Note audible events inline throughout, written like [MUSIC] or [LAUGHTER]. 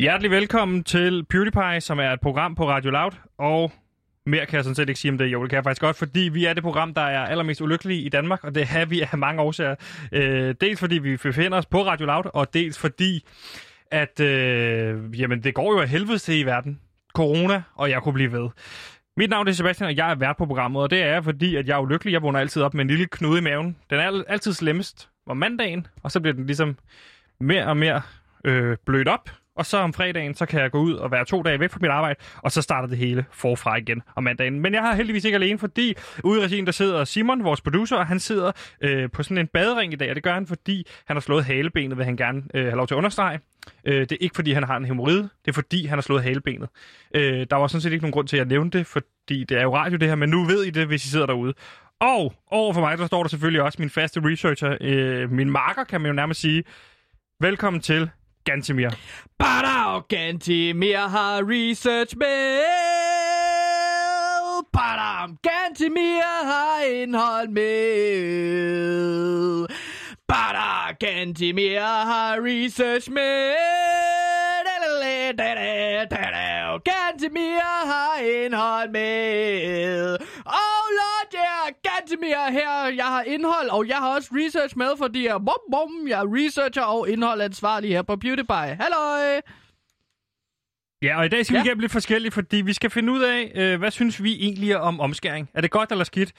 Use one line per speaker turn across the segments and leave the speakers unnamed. Hjertelig velkommen til PewDiePie, som er et program på Radio Loud, og mere kan jeg sådan set ikke sige om det. Jo, det kan jeg faktisk godt, fordi vi er det program, der er allermest ulykkelige i Danmark, og det er vi af mange årsager. Øh, dels fordi vi befinder os på Radio Loud, og dels fordi, at øh, jamen, det går jo af helvede til i verden. Corona, og jeg kunne blive ved. Mit navn er Sebastian, og jeg er vært på programmet, og det er jeg, fordi at jeg er ulykkelig. Jeg vågner altid op med en lille knude i maven. Den er al- altid slemmest om mandagen, og så bliver den ligesom mere og mere øh, blødt op. Og så om fredagen, så kan jeg gå ud og være to dage væk fra mit arbejde, og så starter det hele forfra igen om mandagen. Men jeg har heldigvis ikke alene, fordi ude i regien, der sidder Simon, vores producer, og han sidder øh, på sådan en badering i dag, og det gør han, fordi han har slået halebenet, vil han gerne øh, have lov til at understrege. Øh, det er ikke, fordi han har en hemorrhide, det er, fordi han har slået halebenet. Øh, der var sådan set ikke nogen grund til, at jeg nævnte det, fordi det er jo radio det her, men nu ved I det, hvis I sidder derude. Og over for mig, der står der selvfølgelig også min faste researcher, øh, min marker, kan man jo nærmest sige. Velkommen til Gantemir.
Badav, Gantimir har research med. Badam, Gantimir har indhold med. Bada, Gantimir har research med. Dadadada, dadadada. Gantimir har indhold med. Oh lord, yeah, Gantimir her. Jeg har indhold, og jeg har også research med, fordi jeg, bum, bum, jeg er researcher og indholdansvarlig her på PewDiePie. Halløj!
Ja, og i dag skal ja.
Ja.
vi igennem lidt forskelligt, fordi vi skal finde ud af, øh, hvad synes vi egentlig om omskæring? Er det godt eller skidt?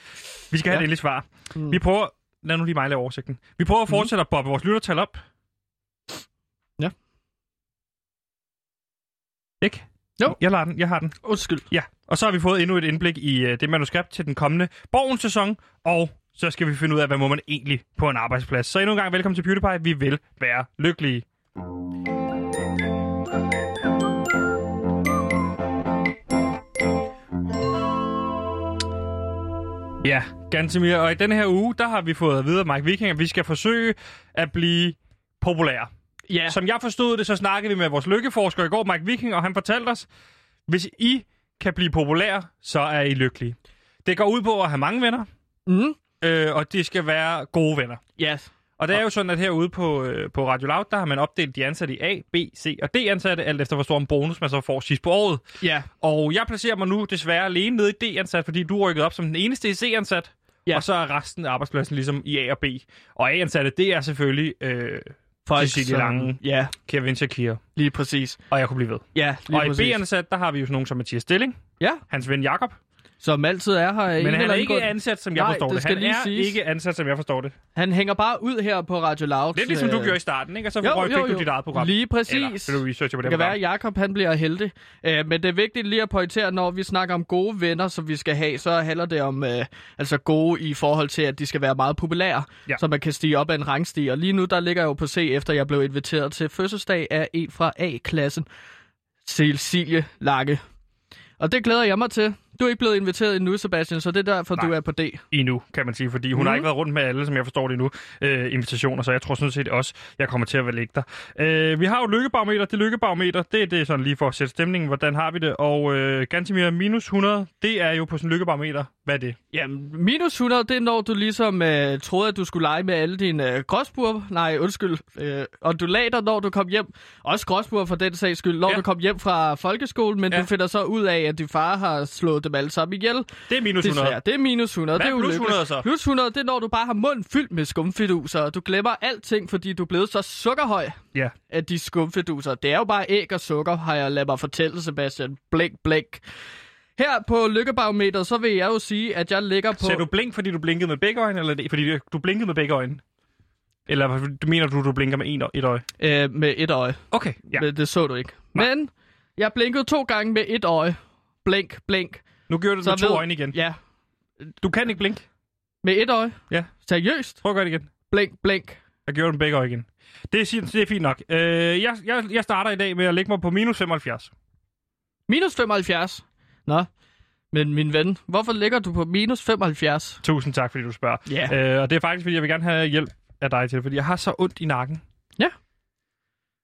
Vi skal have ja.
Ja.
et endeligt svar. Mm.
Mm. Mhm.
Vi prøver... Lad nu lige mig lave oversigten. Vi prøver at fortsætte mm. at boppe vores lyttertal op.
Ja.
Ikke?
Jo.
Jeg, lader den. jeg har den.
Undskyld.
Ja, og så har vi fået endnu et indblik i øh, det manuskript til den kommende Borgen-sæson, og så skal vi finde ud af, hvad må man egentlig på en arbejdsplads. Så endnu en gang velkommen til PewDiePie. Vi vil være lykkelige. Ja, Gantemir, og i denne her uge, der har vi fået at vide af Mike Viking, at vi skal forsøge at blive populære.
Ja.
Som jeg forstod det, så snakkede vi med vores lykkeforsker i går, Mike Viking, og han fortalte os, hvis I kan blive populære, så er I lykkelige. Det går ud på at have mange venner,
Mm.
øh, og de skal være gode venner.
Yes.
Og det er jo sådan, at herude på, øh, på Radio Loud, der har man opdelt de ansatte i A, B, C og D-ansatte, alt efter hvor stor en bonus man så får sidst på året.
Ja.
Og jeg placerer mig nu desværre alene nede i D-ansat, fordi du rykkede op som den eneste i C-ansat. Ja.
Ja.
Og så er resten af arbejdspladsen ligesom i A og B. Og A-ansatte, det er selvfølgelig øh, Cecilie
som-
Lange.
Ja,
Kevin Shakir.
lige præcis.
Og jeg kunne blive ved.
Ja, lige
og i
præcis.
B-ansat, der har vi jo sådan nogen som Mathias Stilling,
Ja,
hans ven Jakob.
som altid er her. af
Men
en
han
eller
er
anden
ikke
grund.
ansat, som jeg
Nej,
forstår
det
det.
skal
Han
lige
er
siges.
ikke ansat, som jeg forstår det.
Han hænger bare ud her på Radio Loud.
Det er ligesom du
øh,
gjorde i starten, ikke? Og så
jo,
røg,
jo,
fik du
jo.
dit eget program.
Lige præcis.
Eller, så du researcher på det, program.
Det kan være, at Jacob han bliver heldig. Øh, men det er vigtigt lige at pointere, når vi snakker om gode venner, som vi skal have, så handler det om øh, altså gode i forhold til, at de skal være meget populære,
Ja.
ja. så man kan stige op ad en rangstige. Og lige nu, der ligger jeg jo på C, efter jeg blev inviteret til fødselsdag af en fra A-klassen, Cecilie Lange. Og det glæder jeg mig til. Du er ikke blevet inviteret endnu, Sebastian, så det er derfor,
Nej.
Nej. du er på D.
endnu, kan man sige, fordi hun mm. har
Mhm.
ikke været rundt med alle, som jeg forstår det endnu, øh, invitationer, så jeg tror sådan set også, jeg kommer til at være lægge dig. Øh, vi har jo et lykkebarometer, det lykkebarometer, det er det sådan lige for at sætte stemningen, hvordan har vi det, og øh, Gantimir minus 100, det er jo på sådan en lykkebarometer, hvad er det?
Jamen, minus 100, det er når du ligesom øh, troede, at du skulle lege med alle dine øh, gråsbuer. Nej, undskyld. Øh, undulater, når du kom hjem. Også gråsbuer for den sags skyld. Når
Ja.
ja. du kom hjem fra folkeskolen, men
Ja.
ja. du finder så ud af, at din far har slået dem alle sammen ihjel.
Det er minus 100.
Desværre, det er minus 100.
Hvad
det
er
er
plus
ulykkeligt.
100 så?
Plus 100, det er når du bare har munden fyldt med skumfiduser, og du glemmer alting, fordi du er blevet så sukkerhøj
Ja.
af de skumfiduser. Det er jo bare æg og sukker, har jeg ladet mig fortælle, Sebastian. Blæk, blæk. Her på lykkebarometeret, så vil jeg jo sige, at jeg ligger på...
Ser du blink, fordi du blinkede med begge øjne, eller er det- fordi du blinkede med begge øjne? Eller mener du, du blinker med en, ø- et øje?
Øh, med et øje.
Okay, ja.
Ja. Men det så du ikke.
Nej.
Men jeg blinkede to gange med et øje. Blink, blink.
Nu gjorde du det
Så
med to
ved-
øjne igen.
Ja.
Du kan ikke blinke.
Med et øje.
Ja.
Seriøst?
Prøv at gøre det igen.
Blink, blink.
Jeg gjorde den begge øjne igen. Det er, sin- det er fint nok. Øh, jeg, jeg, jeg starter i dag med at lægge mig på minus 75.
Minus 75. Nå. Men min ven, hvorfor ligger du på minus 75?
Tusind tak, fordi du spørger.
Ja.
Øh, og det er faktisk, fordi jeg vil gerne have hjælp af dig til det, fordi jeg har så ondt i nakken.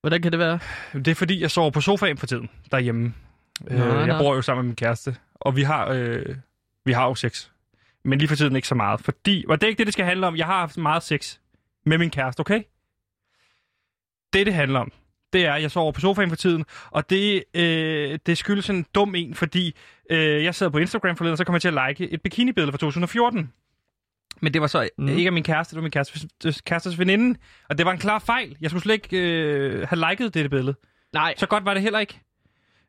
Hvordan kan det være?
Det er, fordi jeg sover på sofaen for tiden derhjemme. Øh,
Nå,
jeg
nå.
bor jo sammen med min kæreste, og vi har, øh, vi har jo sex. Men lige for tiden ikke så meget, fordi... Og det er ikke det, det skal handle om. Jeg har haft meget sex med min kæreste, okay? Det, det handler om, det er, at jeg sover på sofaen for tiden, og det, øh, det skyldes en dum en, fordi øh, jeg sad på Instagram forleden, og så kom jeg til at like et bikinibillede fra 2014. Men det var så mm. ikke af min kæreste, det var min kærestes, kærestes veninde. Og det var en klar fejl. Jeg skulle slet ikke øh, have liket dette billede.
Nej.
Så godt var det heller ikke.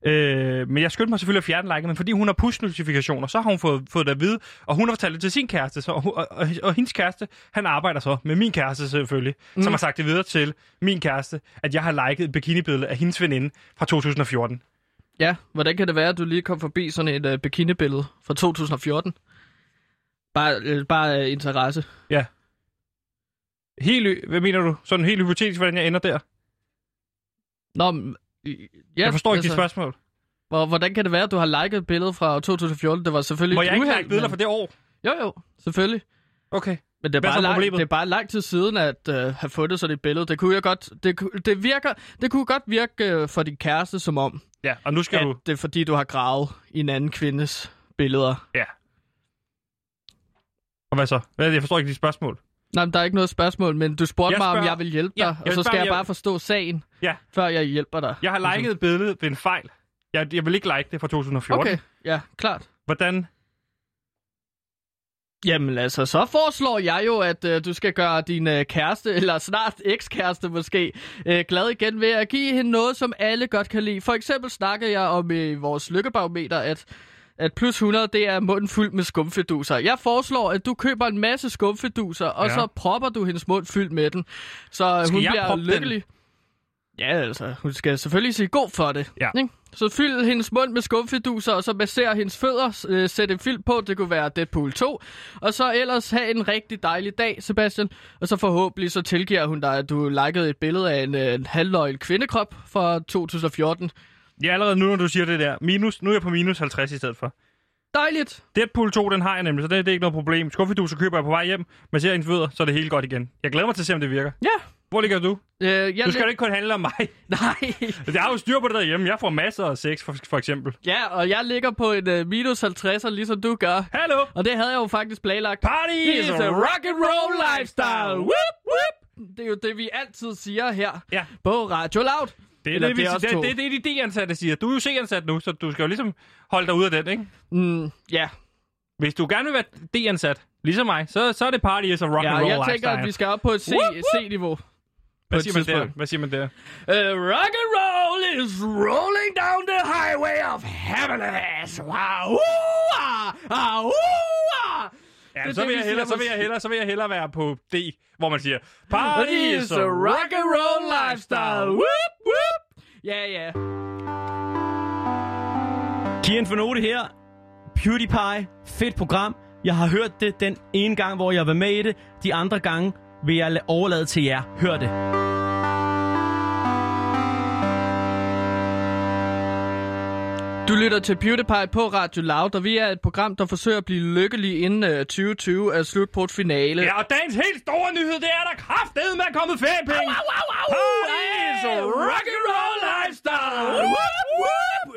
Øh, men jeg skyndte mig selvfølgelig at fjerne liket, men fordi hun har push-notifikationer, så har hun fået, fået det at vide, og hun har fortalt det til sin kæreste, så, og, og, og, og hendes kæreste, han arbejder så med min kæreste selvfølgelig, mm. som har sagt det videre til min kæreste, at jeg har liket et bikinibillede af hendes veninde fra 2014.
Ja, hvordan kan det være, at du lige kom forbi sådan et uh, bikinibillede fra 2014? Bare, øh, bare øh, interesse.
Ja. Helt, ø- hvad mener du? Sådan helt hypotetisk, hvordan jeg ender der?
Nå, men, øh, ja,
jeg forstår ikke altså, dit spørgsmål.
hvor- Hvordan kan det være, at du har liket et billede fra 2014? Det var selvfølgelig
Må
et
jeg ikke
uheld,
like billeder
men-
for det år?
Jo, jo, selvfølgelig.
Okay.
Men det
Hvad
er,
er
bare
så
lang,
problemet?
det er bare lang tid siden at øh, have fundet sådan et billede. Det kunne jeg godt det, ku- det virker det kunne godt virke øh, for din kæreste som om
Ja, og nu skal
at
du...
det er fordi du har gravet i en anden kvindes billeder.
Ja. Og hvad så? Hvad er det? Jeg forstår ikke dit spørgsmål.
Nej, men der er ikke noget spørgsmål, men du spurgte
Jeg
mig om
spørger-
jeg vil hjælpe dig,
Ja, jeg
og
vil
så skal
spørge,
jeg
om jeg-
bare forstå sagen
Ja.
før jeg hjælper dig.
Jeg har liket et billede ved en fejl. Jeg, jeg vil ikke like det fra 2014.
Okay, ja, klart.
Hvordan?
Jamen altså, så foreslår jeg jo, at øh, du skal gøre din øh, kæreste, eller snart ekskæreste måske, øh, glad igen ved at give hende noget, som alle godt kan lide. For eksempel snakkede jeg om i øh, vores lykkebarometer, at, at plus 100, det er munden fyldt med skumfiduser. Jeg foreslår, at du køber en masse skumfiduser, og
Ja.
så propper du hendes mund fyldt med den, så
Skal
hun
jeg
bliver
proppe den?
lykkelig. Ja, altså, hun skal selvfølgelig sige god for det.
Ja.
Ikke? Så fyld hendes mund med skumfiduser, og så masser hendes fødder, øh, sæt en film på, det kunne være Deadpool 2, og så ellers have en rigtig dejlig dag, Sebastian, og så forhåbentlig så tilgiver hun dig, at du likede et billede af en, øh, en halvnøgel kvindekrop fra 2014.
Ja, allerede nu, når du siger det der. Minus, nu er jeg på minus 50 i stedet for.
Dejligt!
Deadpool 2, den har jeg nemlig, så det, det er ikke noget problem. Skuffeduser køber jeg på vej hjem, men ser en fødder, så er det hele godt igen. Jeg glæder mig til at se, om det virker.
Ja.
Hvor ligger du?
Øh, jeg
Du skal jo ikke kun handle om mig. [LAUGHS]
[LAUGHS] Nej.
Jeg har jo styr på det derhjemme. Jeg får masser af sex, for, for eksempel.
Ja, og jeg ligger på en øh, minus 50'er, ligesom du gør.
Hallo?
Og det havde jeg jo faktisk planlagt.
Party
It's a rock and roll lifestyle. Whoop, whoop. Det er jo det, vi altid siger her
Ja,
på Radio Loud.
det er
Eller
det, vi,
det er
det,
os to.
det, det, det, er de D-ansatte siger. Du er jo C-ansat nu, så du skal jo ligesom holde dig ude af den, ikke?
Mm, ja,
Hvis du gerne vil være D-ansat, ligesom mig, så, så er det party is a rock
ja
and roll
jeg tænker,
lifestyle.
at vi skal op på et C-
Whoop, whoop.
C-niveau. på
Hvad
et
siger man der?
tidspunkt.
Hvad siger man der?
Uh, rock and roll is rolling down the highway of happiness. Wow, ah, ah, ah.
Ja,
Det er
så,
det,
vil
vi
jeg
siger
hellere,
på-
så, vil jeg hellere, så vil jeg hellere være på D, hvor man siger, Party
It
is
is
a
a
rock
rock and roll lifestyle. Whoop, whoop. Ja, ja.
Kian Fornote her. PewDiePie. Fedt program. Jeg har hørt det den ene gang, hvor jeg var med i det. De andre gange vil jeg la- overlade til jer. Hør det.
Du lytter til PewDiePie på Radio Loud, og vi er et program, der forsøger at blive lykkelig inden øh, 2020 er slut på et finale.
Ja, og dagens helt store nyhed, det er, at der kraftedeme er kommet feriepenge.
Au, au, au,
Party
hey!
is a rock and roll lifestyle. Whoop, whoop.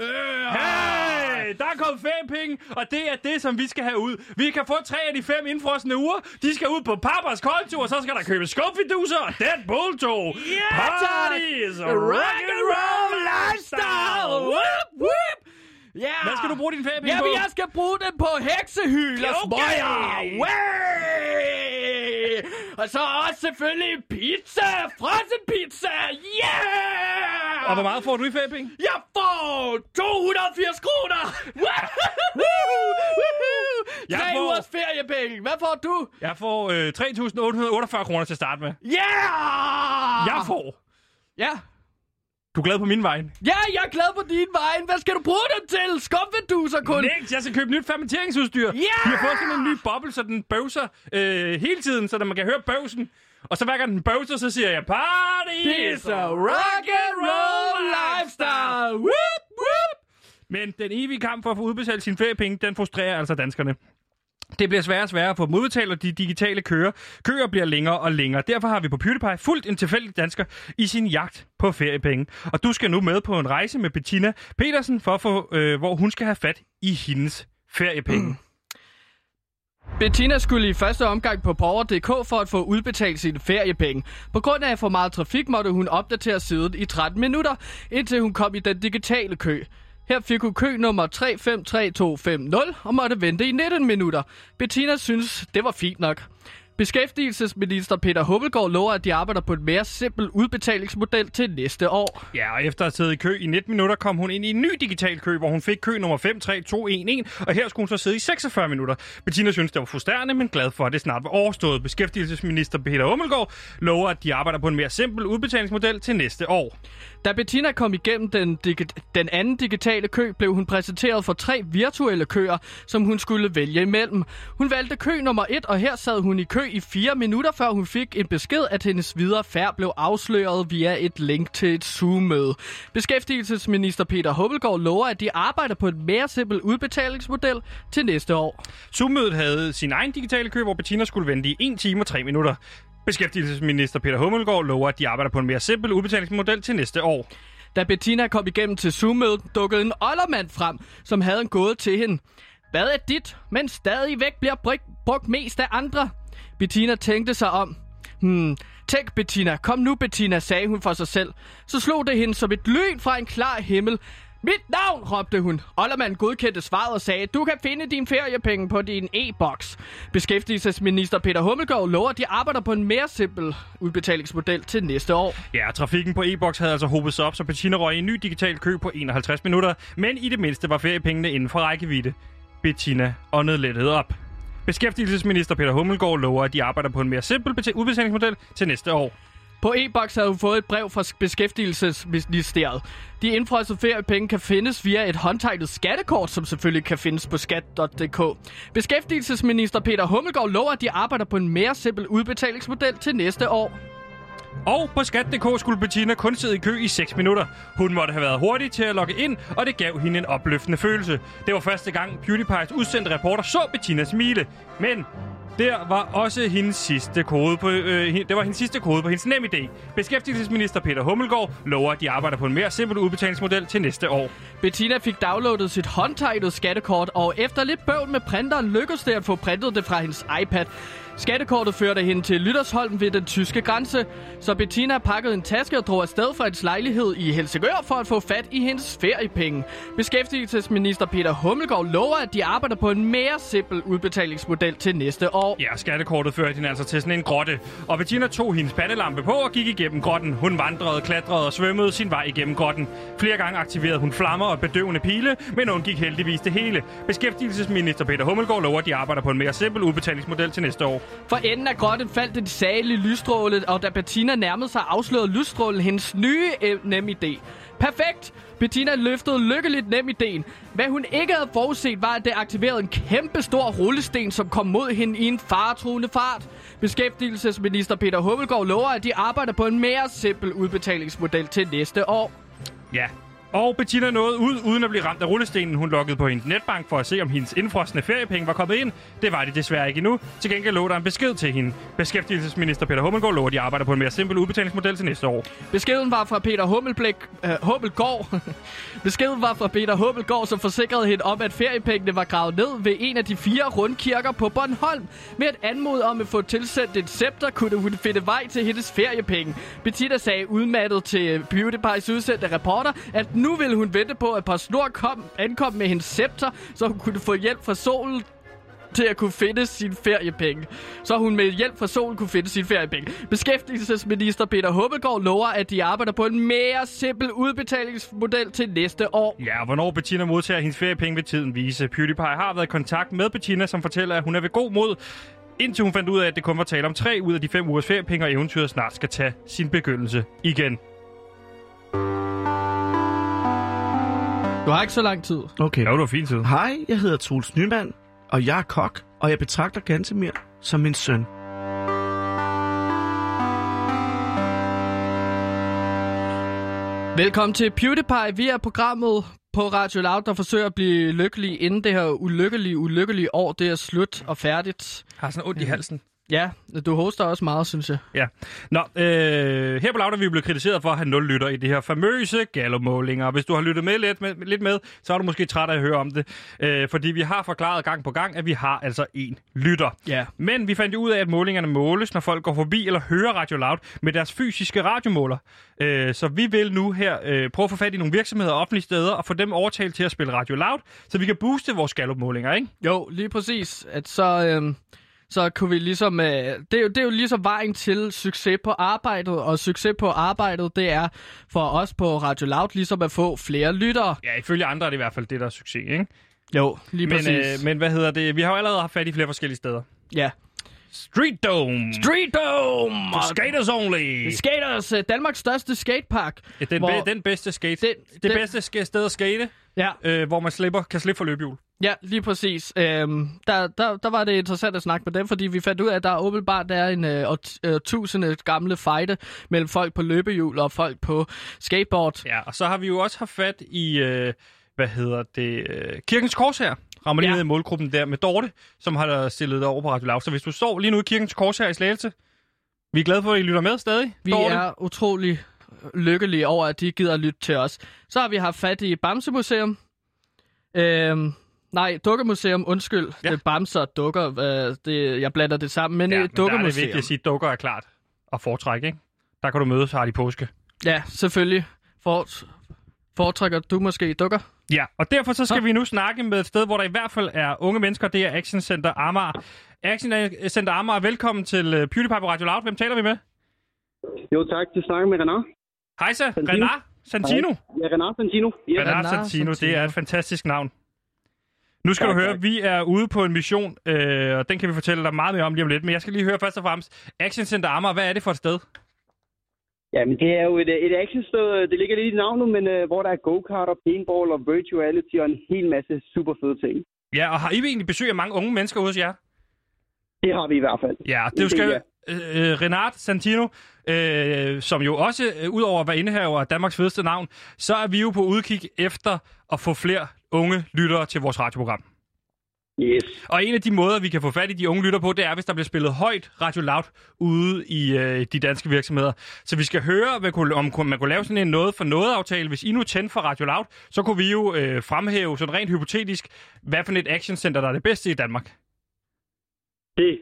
Hey, der er kommet feriepenge, og det er det, som vi skal have ud. Vi kan få tre af de fem indfrosne uger. De skal ud på Papas konto, og så skal der købes skumfiduser og Deadpool 2. Yeah, Party is a rock and roll lifestyle.
Whoop, whoop. Ja.
Hvad skal du bruge din feriepenge
Jamen,
på?
jeg skal bruge den på heksehyl og smøger. Way! Og så også selvfølgelig pizza. Frossen pizza. Yeah!
Og hvor meget får du i feriepenge?
Jeg får 280 kroner! Woohoo! Woohoo!
Jeg
Tre
får-
ugers feriepenge! Hvad får du?
Jeg får øh, 3.848 kroner til at starte med.
Yeah!
Jeg får.
Ja.
Du er glad på min vej.
Ja, jeg er glad på din vejen. Hvad skal du bruge den til? Skumfiduser kun.
Next, jeg skal købe nyt fermenteringsudstyr. Yeah! Vi har fået sådan en ny boble, så den bøvser øh, hele tiden, så man kan høre bøvsen. Og så hver gang den bøvser, så siger jeg, party
Det er så rock and roll lifestyle. Whoop, whoop.
Men den evige kamp for at få udbetalt sine feriepenge, den frustrerer altså danskerne. Det bliver sværere og sværere at få dem udbetalt, og de digitale køer, køer bliver længere og længere. Derfor har vi på PewDiePie fuldt en tilfældig dansker i sin jagt på feriepenge. Og du skal nu med på en rejse med Bettina Petersen, for at få, øh, hvor hun skal have fat i hendes feriepenge. Mm.
Bettina skulle i første omgang på Power.dk for at få udbetalt sine feriepenge. På grund af for meget trafik måtte hun opdatere siden i 13 minutter, indtil hun kom i den digitale kø. Her fik hun kø nummer 353250 og måtte vente i 19 minutter. Bettina synes, det var fint nok. Beskæftigelsesminister Peter Hummelgaard lover, at de arbejder på en mere simpel udbetalingsmodel til næste år.
Ja, og efter at have siddet i kø i 19 minutter, kom hun ind i en ny digital kø, hvor hun fik kø nummer 53211, og her skulle hun så sidde i 46 minutter. Bettina synes, det var frustrerende, men glad for, at det snart var overstået. Beskæftigelsesminister Peter Ummelgaard lover, at de arbejder på en mere simpel udbetalingsmodel til næste år.
Da Bettina kom igennem den, digi- den anden digitale kø, blev hun præsenteret for tre virtuelle køer, som hun skulle vælge imellem. Hun valgte kø nummer et, og her sad hun i kø i fire minutter, før hun fik en besked, at hendes videre færd blev afsløret via et link til et Zoom-møde. Beskæftigelsesminister Peter Hummelgaard lover, at de arbejder på en mere simpel udbetalingsmodel til næste år.
Zoom-mødet havde sin egen digitale kø, hvor Bettina skulle vente i 1 time og 3 minutter. Beskæftigelsesminister Peter Hummelgaard lover, at de arbejder på en mere simpel udbetalingsmodel til næste år.
Da Bettina kom igennem til Zoom-mødet, dukkede en oldermand frem, som havde en gåde til hende. Hvad er dit, men stadigvæk bliver brik- brugt mest af andre? Bettina tænkte sig om. Hmm, tænk Bettina, kom nu Bettina, sagde hun for sig selv. Så slog det hende som et lyn fra en klar himmel. Mit navn, råbte hun. Ollermand godkendte svaret og sagde, du kan finde dine feriepenge på din e-boks. Beskæftigelsesminister Peter Hummelgaard lover, at de arbejder på en mere simpel udbetalingsmodel til næste år.
Ja, trafikken på e-boks havde altså hobet sig op, så Bettina røg i en ny digital kø på 51 minutter, men i det mindste var feriepengene inden for rækkevidde. Bettina åndede lettet op. Beskæftigelsesminister Peter Hummelgaard lover, at de arbejder på en mere simpel bete- udbetalingsmodel til næste år.
På e-boks havde hun fået et brev fra Beskæftigelsesministeriet. De indfrosset feriepenge kan findes via et håndtegnet skattekort, som selvfølgelig kan findes på skat.dk. Beskæftigelsesminister Peter Hummelgaard lover, at de arbejder på en mere simpel udbetalingsmodel til næste år.
Og på skat.dk skulle Bettina kun sidde i kø i 6 minutter. Hun måtte have været hurtig til at logge ind, og det gav hende en opløftende følelse. Det var første gang PewDiePie's udsendte reporter så Bettina smile. Men der var også hendes sidste kode på, øh, hen- det var hendes sidste kode på hendes nemidé. Beskæftigelsesminister Peter Hummelgaard lover, at de arbejder på en mere simpel udbetalingsmodel til næste år.
Bettina fik downloadet sit håndtegnet skattekort, og efter lidt bøvl med printeren lykkedes det at få printet det fra hendes iPad. Skattekortet førte hende til Lyttersholm ved den tyske grænse, så Bettina pakkede en taske og drog afsted fra hendes lejlighed i Helsingør for at få fat i hendes feriepenge. Beskæftigelsesminister Peter Hummelgaard lover, at de arbejder på en mere simpel udbetalingsmodel til næste år.
Ja, skattekortet førte hende altså til sådan en grotte. Og Bettina tog hendes pandelampe på og gik igennem grotten. Hun vandrede, klatrede og svømmede sin vej igennem grotten. Flere gange aktiverede hun flammer og bedøvende pile, men undgik heldigvis det hele. Beskæftigelsesminister Peter Hummelgaard lover, at de arbejder på en mere simpel udbetalingsmodel til næste år.
For enden af grotten faldt den salige lysstråle, og da Bettina nærmede sig, afslørede lysstrålen hendes nye øh, nem idé. Perfekt! Bettina løftede lykkeligt nem ideen. Hvad hun ikke havde forudset var, at det aktiverede en kæmpe stor rullesten, som kom mod hende i en faretruende fart. Beskæftigelsesminister Peter Hummelgaard lover, at de arbejder på en mere simpel udbetalingsmodel til næste år.
Ja. Og Bettina nåede ud, uden at blive ramt af rullestenen. Hun loggede på hendes netbank for at se, om hendes indfrosne feriepenge var kommet ind. Det var de desværre ikke endnu. Til gengæld lå der en besked til hende. Beskæftigelsesminister Peter Hummelgaard lover, at de arbejder på en mere simpel udbetalingsmodel til næste år.
Beskeden var fra Peter Hummelblæk, øh, Hummelgaard. [LAUGHS] Beskeden var fra Peter Hummelgaard, som forsikrede hende om, at feriepengene var gravet ned ved en af de fire rundkirker på Bornholm. Ved at anmode om at få tilsendt et scepter, kunne hun finde vej til hendes feriepenge. Bettina sagde udmattet til Beauty Pies udsendte reporter, at nu ville hun vente på, at PostNord kom, ankom med hendes scepter, så hun kunne få hjælp fra solen til at kunne finde sine feriepenge. Så hun med hjælp fra solen kunne finde sine feriepenge. Beskæftigelsesminister Peter Hummelgaard lover, at de arbejder på en mere simpel udbetalingsmodel til næste år.
Ja, og hvornår Bettina modtager hendes feriepenge ved tiden vise. PewDiePie har været i kontakt med Bettina, som fortæller, at hun er ved god mod, indtil hun fandt ud af, at det kun var tale om tre ud af de fem ugers feriepenge, og eventyret snart skal tage sin begyndelse igen.
Du har ikke så lang tid.
Okay.
Ja, det var fin tid.
Hej, jeg hedder Troels Nyman, og jeg er kok, og jeg betragter Gantemir som min søn.
Velkommen til PewDiePie. Vi er programmet på Radio Loud, der forsøger at blive lykkelig, inden det her ulykkelige, ulykkelige år det er slut og færdigt.
Har sådan ondt i halsen.
Ja, du hoster også meget, synes jeg.
Ja. Nå, øh, her på Loud er vi blevet kritiseret for at have nul lytter i de her famøse gallomålinger. Og Hvis du har lyttet med lidt, med lidt med, så er du måske træt af at høre om det. Øh, fordi vi har forklaret gang på gang, at vi har altså en lytter.
Ja.
Men vi fandt jo ud af, at målingerne måles, når folk går forbi eller hører Radio Loud med deres fysiske radiomåler. Øh, så vi vil nu her øh, prøve at få fat i nogle virksomheder og offentlige steder og få dem overtalt til at spille Radio Loud, så vi kan booste vores gallopmålinger, ikke?
Jo, lige præcis. At så, øhm, så kunne vi ligesom... Øh, det, er jo, det er jo ligesom vejen til succes på arbejdet, og succes på arbejdet, det er for os på Radio Loud ligesom at få flere lyttere.
Ja, ifølge andre er det i hvert fald det, der er succes, ikke?
Jo, lige men,
Men, øh,
præcis. Øh, men...
men hvad hedder det? Vi har jo allerede haft fat i flere forskellige steder.
Ja.
Street Dome!
Street Dome!
For skaters only!
Skaters, øh, Danmarks største skatepark.
Ja, Den,
hvor-
be, den bedste skate.
Den-
det
den-
bedste sk- sted at skate,
Ja,
øh, hvor man slipper, kan slippe for løbehjul.
ja lige præcis. Øhm, der, der, der var det interessant at snakke med dem, fordi vi fandt ud af, at der åbenbart er en øh, årt- øh, tusinde gamle fejde mellem folk på løbehjul og folk på skateboard.
Ja, og så har vi jo også haft fat i, øh, hvad hedder det, øh, Kirkens Korshær. Rammer lige ja.
Ja.
ned i målgruppen der med Dorte, som har stillet dig over på Radio Lav. Så hvis du står lige nu i Kirkens Korshær i Slagelse, vi er glade for, at I lytter med stadig,
Vi
Dorte.
er utrolig øh, lykkelige over, at de gider at lytte til os. Så har vi haft fat i Bamse Museum. Øhm, nej, Dukkemuseum, undskyld. Ja.
Ja.
Det er Bamse og Dukker. Øh, det, jeg blander det sammen, men,
Ja,
ja,
men
men
der er det
Dukkemuseum.
vigtigt at sige, at dukker er klart og foretrække, ikke? Der kan du mødes her i påske.
ja, selvfølgelig. For, foretrækker du måske Dukker?
Ja, og derfor så skal vi nu snakke med et sted, hvor der i hvert fald er unge mennesker. Det er Action Center Amager. Action øh, Center Amager, velkommen til øh, PewDiePie på Radio Loud. Hvem taler vi med?
Jo tak, du snakker med Renard.
Hejsa, Renard Santino.
Ja, Renard Santino. Ja.
Bernard
Bernard
Santino, det
Santino.
er et fantastisk navn. Nu skal
Tak,
du høre,
tak.
vi er ude på en mission, øh, og den kan vi fortælle dig meget mere om lige om lidt. Men jeg skal lige høre først og fremmest, Action Center Amager, hvad er det for et sted?
Jamen, det er jo et, øh, et actionsted, øh, det ligger lidt i navnet, men uh, hvor der er go-kart og paintball og virtuality og en hel masse super fede ting.
Ja, og har I egentlig besøg af mange unge mennesker hos jer?
Det har vi i hvert fald.
Ja, det er jo
Det
skal...
er-
Øh, øh, Renard Santino, øh, som jo også, øh, udover at være indehaver af Danmarks fedeste navn, så er vi jo på udkig efter at få flere unge lyttere til vores radioprogram.
Yes.
Og en af de måder, vi kan få fat i de unge lytter på, det er, hvis der bliver spillet højt Radio Loud ude i øh, de danske virksomheder. Så vi skal høre, hvad kunne, om kunne- man kunne lave sådan en noget for noget aftale. Hvis I nu tændte for Radio Loud, så kunne vi jo øh, fremhæve sådan rent hypotetisk, hvad for et actioncenter, der er det bedste i Danmark.
Det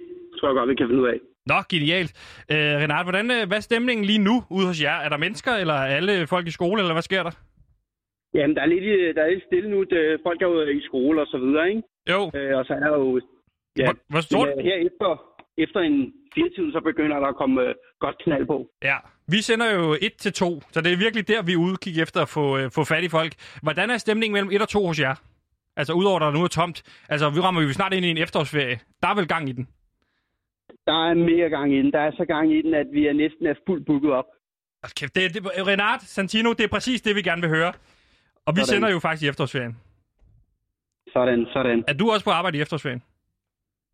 tror jeg godt, vi kan finde ud af.
Nå, genialt. Øh, Renat, hvordan, øh, hvad er stemningen lige nu ude hos jer? Er der mennesker, eller er alle folk i skole, eller hvad sker der?
Jamen, der er lidt, øh, der er lidt stille nu. Det- Folk er jo i skole og så videre, ikke?
Jo,
Øh, Og så er der jo... Ja,
hvor, hvor
men,
stort?
øh, her efter, efter en fire tiden, så begynder der at komme øh, godt knald på.
Ja, vi sender jo 1 til 2, så det er virkelig der, vi er ude kigge efter at få, øh, få fat i folk. Hvordan er stemningen mellem 1 og 2 hos jer? Altså, udover der nu er tomt. Altså, vi rammer jo snart ind i en efterårsferie. Der er vel gang i den.
Der er mere gang i den. Der er så gang i den, at vi er næsten er fuldt booket op.
Hold kæft, Det, det, Renat, Santino, det er præcis det, vi gerne vil høre. Og vi
Sådan.
sender jo faktisk i efterårsferien.
Sådan, sådan.
Er du også på arbejde i efterårsferien?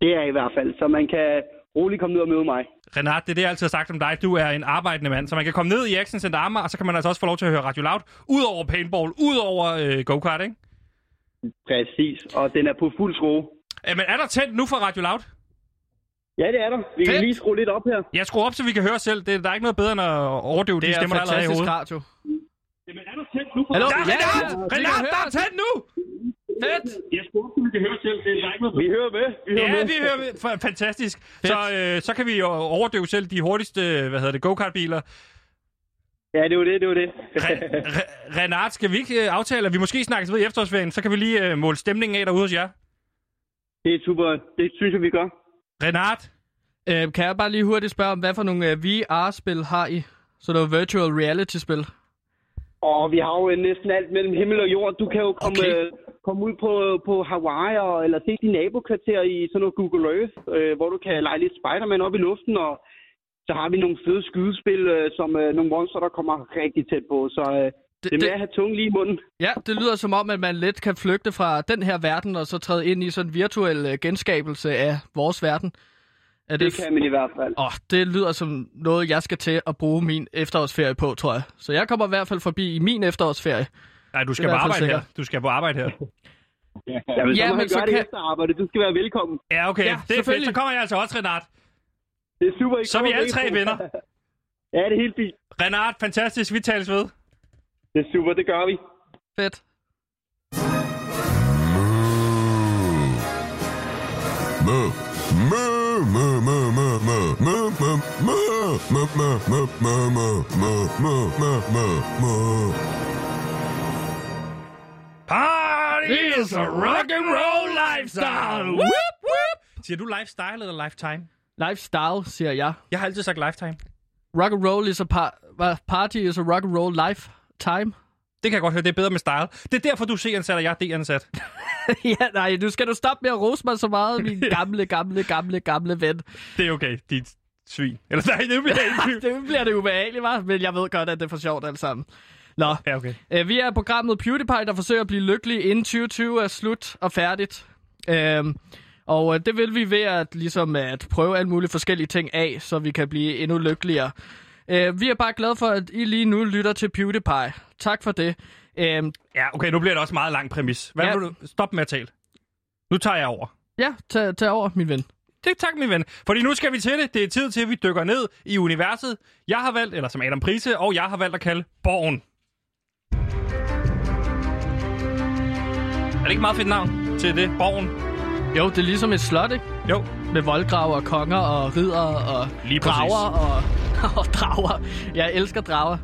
Det er jeg i hvert fald, så man kan roligt komme ned og møde mig.
Renat, det er det, jeg altid har sagt om dig. Du er en arbejdende mand, så man kan komme ned i Action Center Amager, og så kan man altså også få lov til at høre Radio Loud, ud over paintball, ud over øh, go-kart, ikke?
Præcis, og den er på fuld skrue.
Øh, Men er der tændt nu for Radio Loud?
Ja, det er der. Vi
Fedt.
kan lige skrue lidt op her.
Jeg skruer op, så vi kan høre selv. Det, der er ikke noget bedre end at overdøve de
Det er
stemmer, der allerede er i
fantastisk
hovedet.
radio.
Jamen, er der tæt nu?
Hallo?
Der er
Ja,
Renat!
ja, vi
Renat,
kan
der
høre
er tændt nu!
Fedt!
Jeg spurgte, om vi kan høre selv. Det er ikke noget. Vi hører med. Vi hører
Ja,
med.
vi hører f- fantastisk. Så, øh, så kan vi jo overdøve selv de hurtigste, hvad hedder det, go-kart-biler.
[LAUGHS]
Ja, det var det, det var det.
Re- Re- Renat, skal vi ikke øh, aftale, at vi måske snakkes ved i efterårsferien? Så kan vi lige øh, måle stemningen af derude hos jer.
[LAUGHS] det er super. Det synes jeg, vi gør.
Renat,
Øh, kan jeg bare lige hurtigt spørge om, hvad for nogle øh, VR-spil har I? Så noget virtual reality-spil.
Og vi har jo næsten alt mellem himmel og jord. Du kan jo komme,
Okay.
okay. øh, komme ud på, på Hawaii og, eller se din nabokvarter i sådan noget Google Earth, øh, hvor du kan lege lidt Spider-Man op i luften. Og så har vi nogle fede skydespil, øh, som øh, nogle monster, der kommer rigtig tæt på. Så øh, det, det er med
det-
at have tungen lige i munden.
Ja, det lyder som om, at man let kan flygte fra den her verden, og så træde ind i sådan en virtuel øh, genskabelse af vores verden. Er
Det kan man i hvert fald.
Åh, det lyder som noget, jeg skal til at bruge min efterårsferie på, tror jeg. Så jeg kommer i hvert fald forbi i min efterårsferie.
Nej, du
Det
skal
er
på
i hvert fald
arbejde her.
sikkert.
Du skal på arbejde her.
Jamen,
Ja,
så må
men
han
så
gøre det
kan-
efter arbejde. Du skal være velkommen.
Ja, okay.
Ja,
det er fedt.
selvfølgelig.
Så kommer jeg altså også, Renat.
Det er super. I
Så er vi
kommer
alle
begge
tre
to.
venner.
ja, det er helt fint.
Renard, fantastisk, vi tales ved.
Det er super, det gør vi.
Fedt.
Party is a rock and roll lifestyle.
Whoop, whoop.
Siger du lifestyle eller lifetime?
Lifestyle, siger jeg.
Jeg har altid sagt lifetime.
Rock and roll is a par- hvad? party is a rock and roll lifetime.
Det kan jeg godt høre, det er bedre med style. Det er derfor, du er C-ansat, og jeg er D-ansat.
[LAUGHS] ja, nej, nu skal du stoppe med at rose mig så meget, [LAUGHS] min gamle, gamle, gamle, gamle ven.
[LAUGHS] Det er okay, dit svin. Eller nej, det bliver
[LAUGHS]
jeg ikke.
det bliver det ubehageligt, var, men jeg ved godt, at det er for sjovt alt sammen. Nå,
Ja, okay.
øh, vi er i programmet PewDiePie, der forsøger at blive lykkelig inden 2020 er slut og færdigt. Øhm, og øh, det vil vi ved at, ligesom, at prøve alle mulige forskellige ting af, så vi kan blive endnu lykkeligere. Øh, vi er bare glade for, at I lige nu lytter til PewDiePie. Tak for det. Øhm,
Ja, okay, nu bliver det også meget lang præmis. Hvad
Ja.
ja. vil du... Stop med at tale. Nu tager jeg over.
ja, tag, tag over, min ven.
Det tak, min ven. Fordi nu skal vi til det. Det er tid til, at vi dykker ned i universet. Jeg har valgt, eller som Adam Prise, og jeg har valgt at kalde Borgen. Er det ikke meget fedt navn til det? Borgen?
Jo, det er ligesom et slot, ikke?
Jo.
Med voldgraver og konger og ridder og
Lige præcis.
drager og, og [LAUGHS] drager. Jeg elsker drager.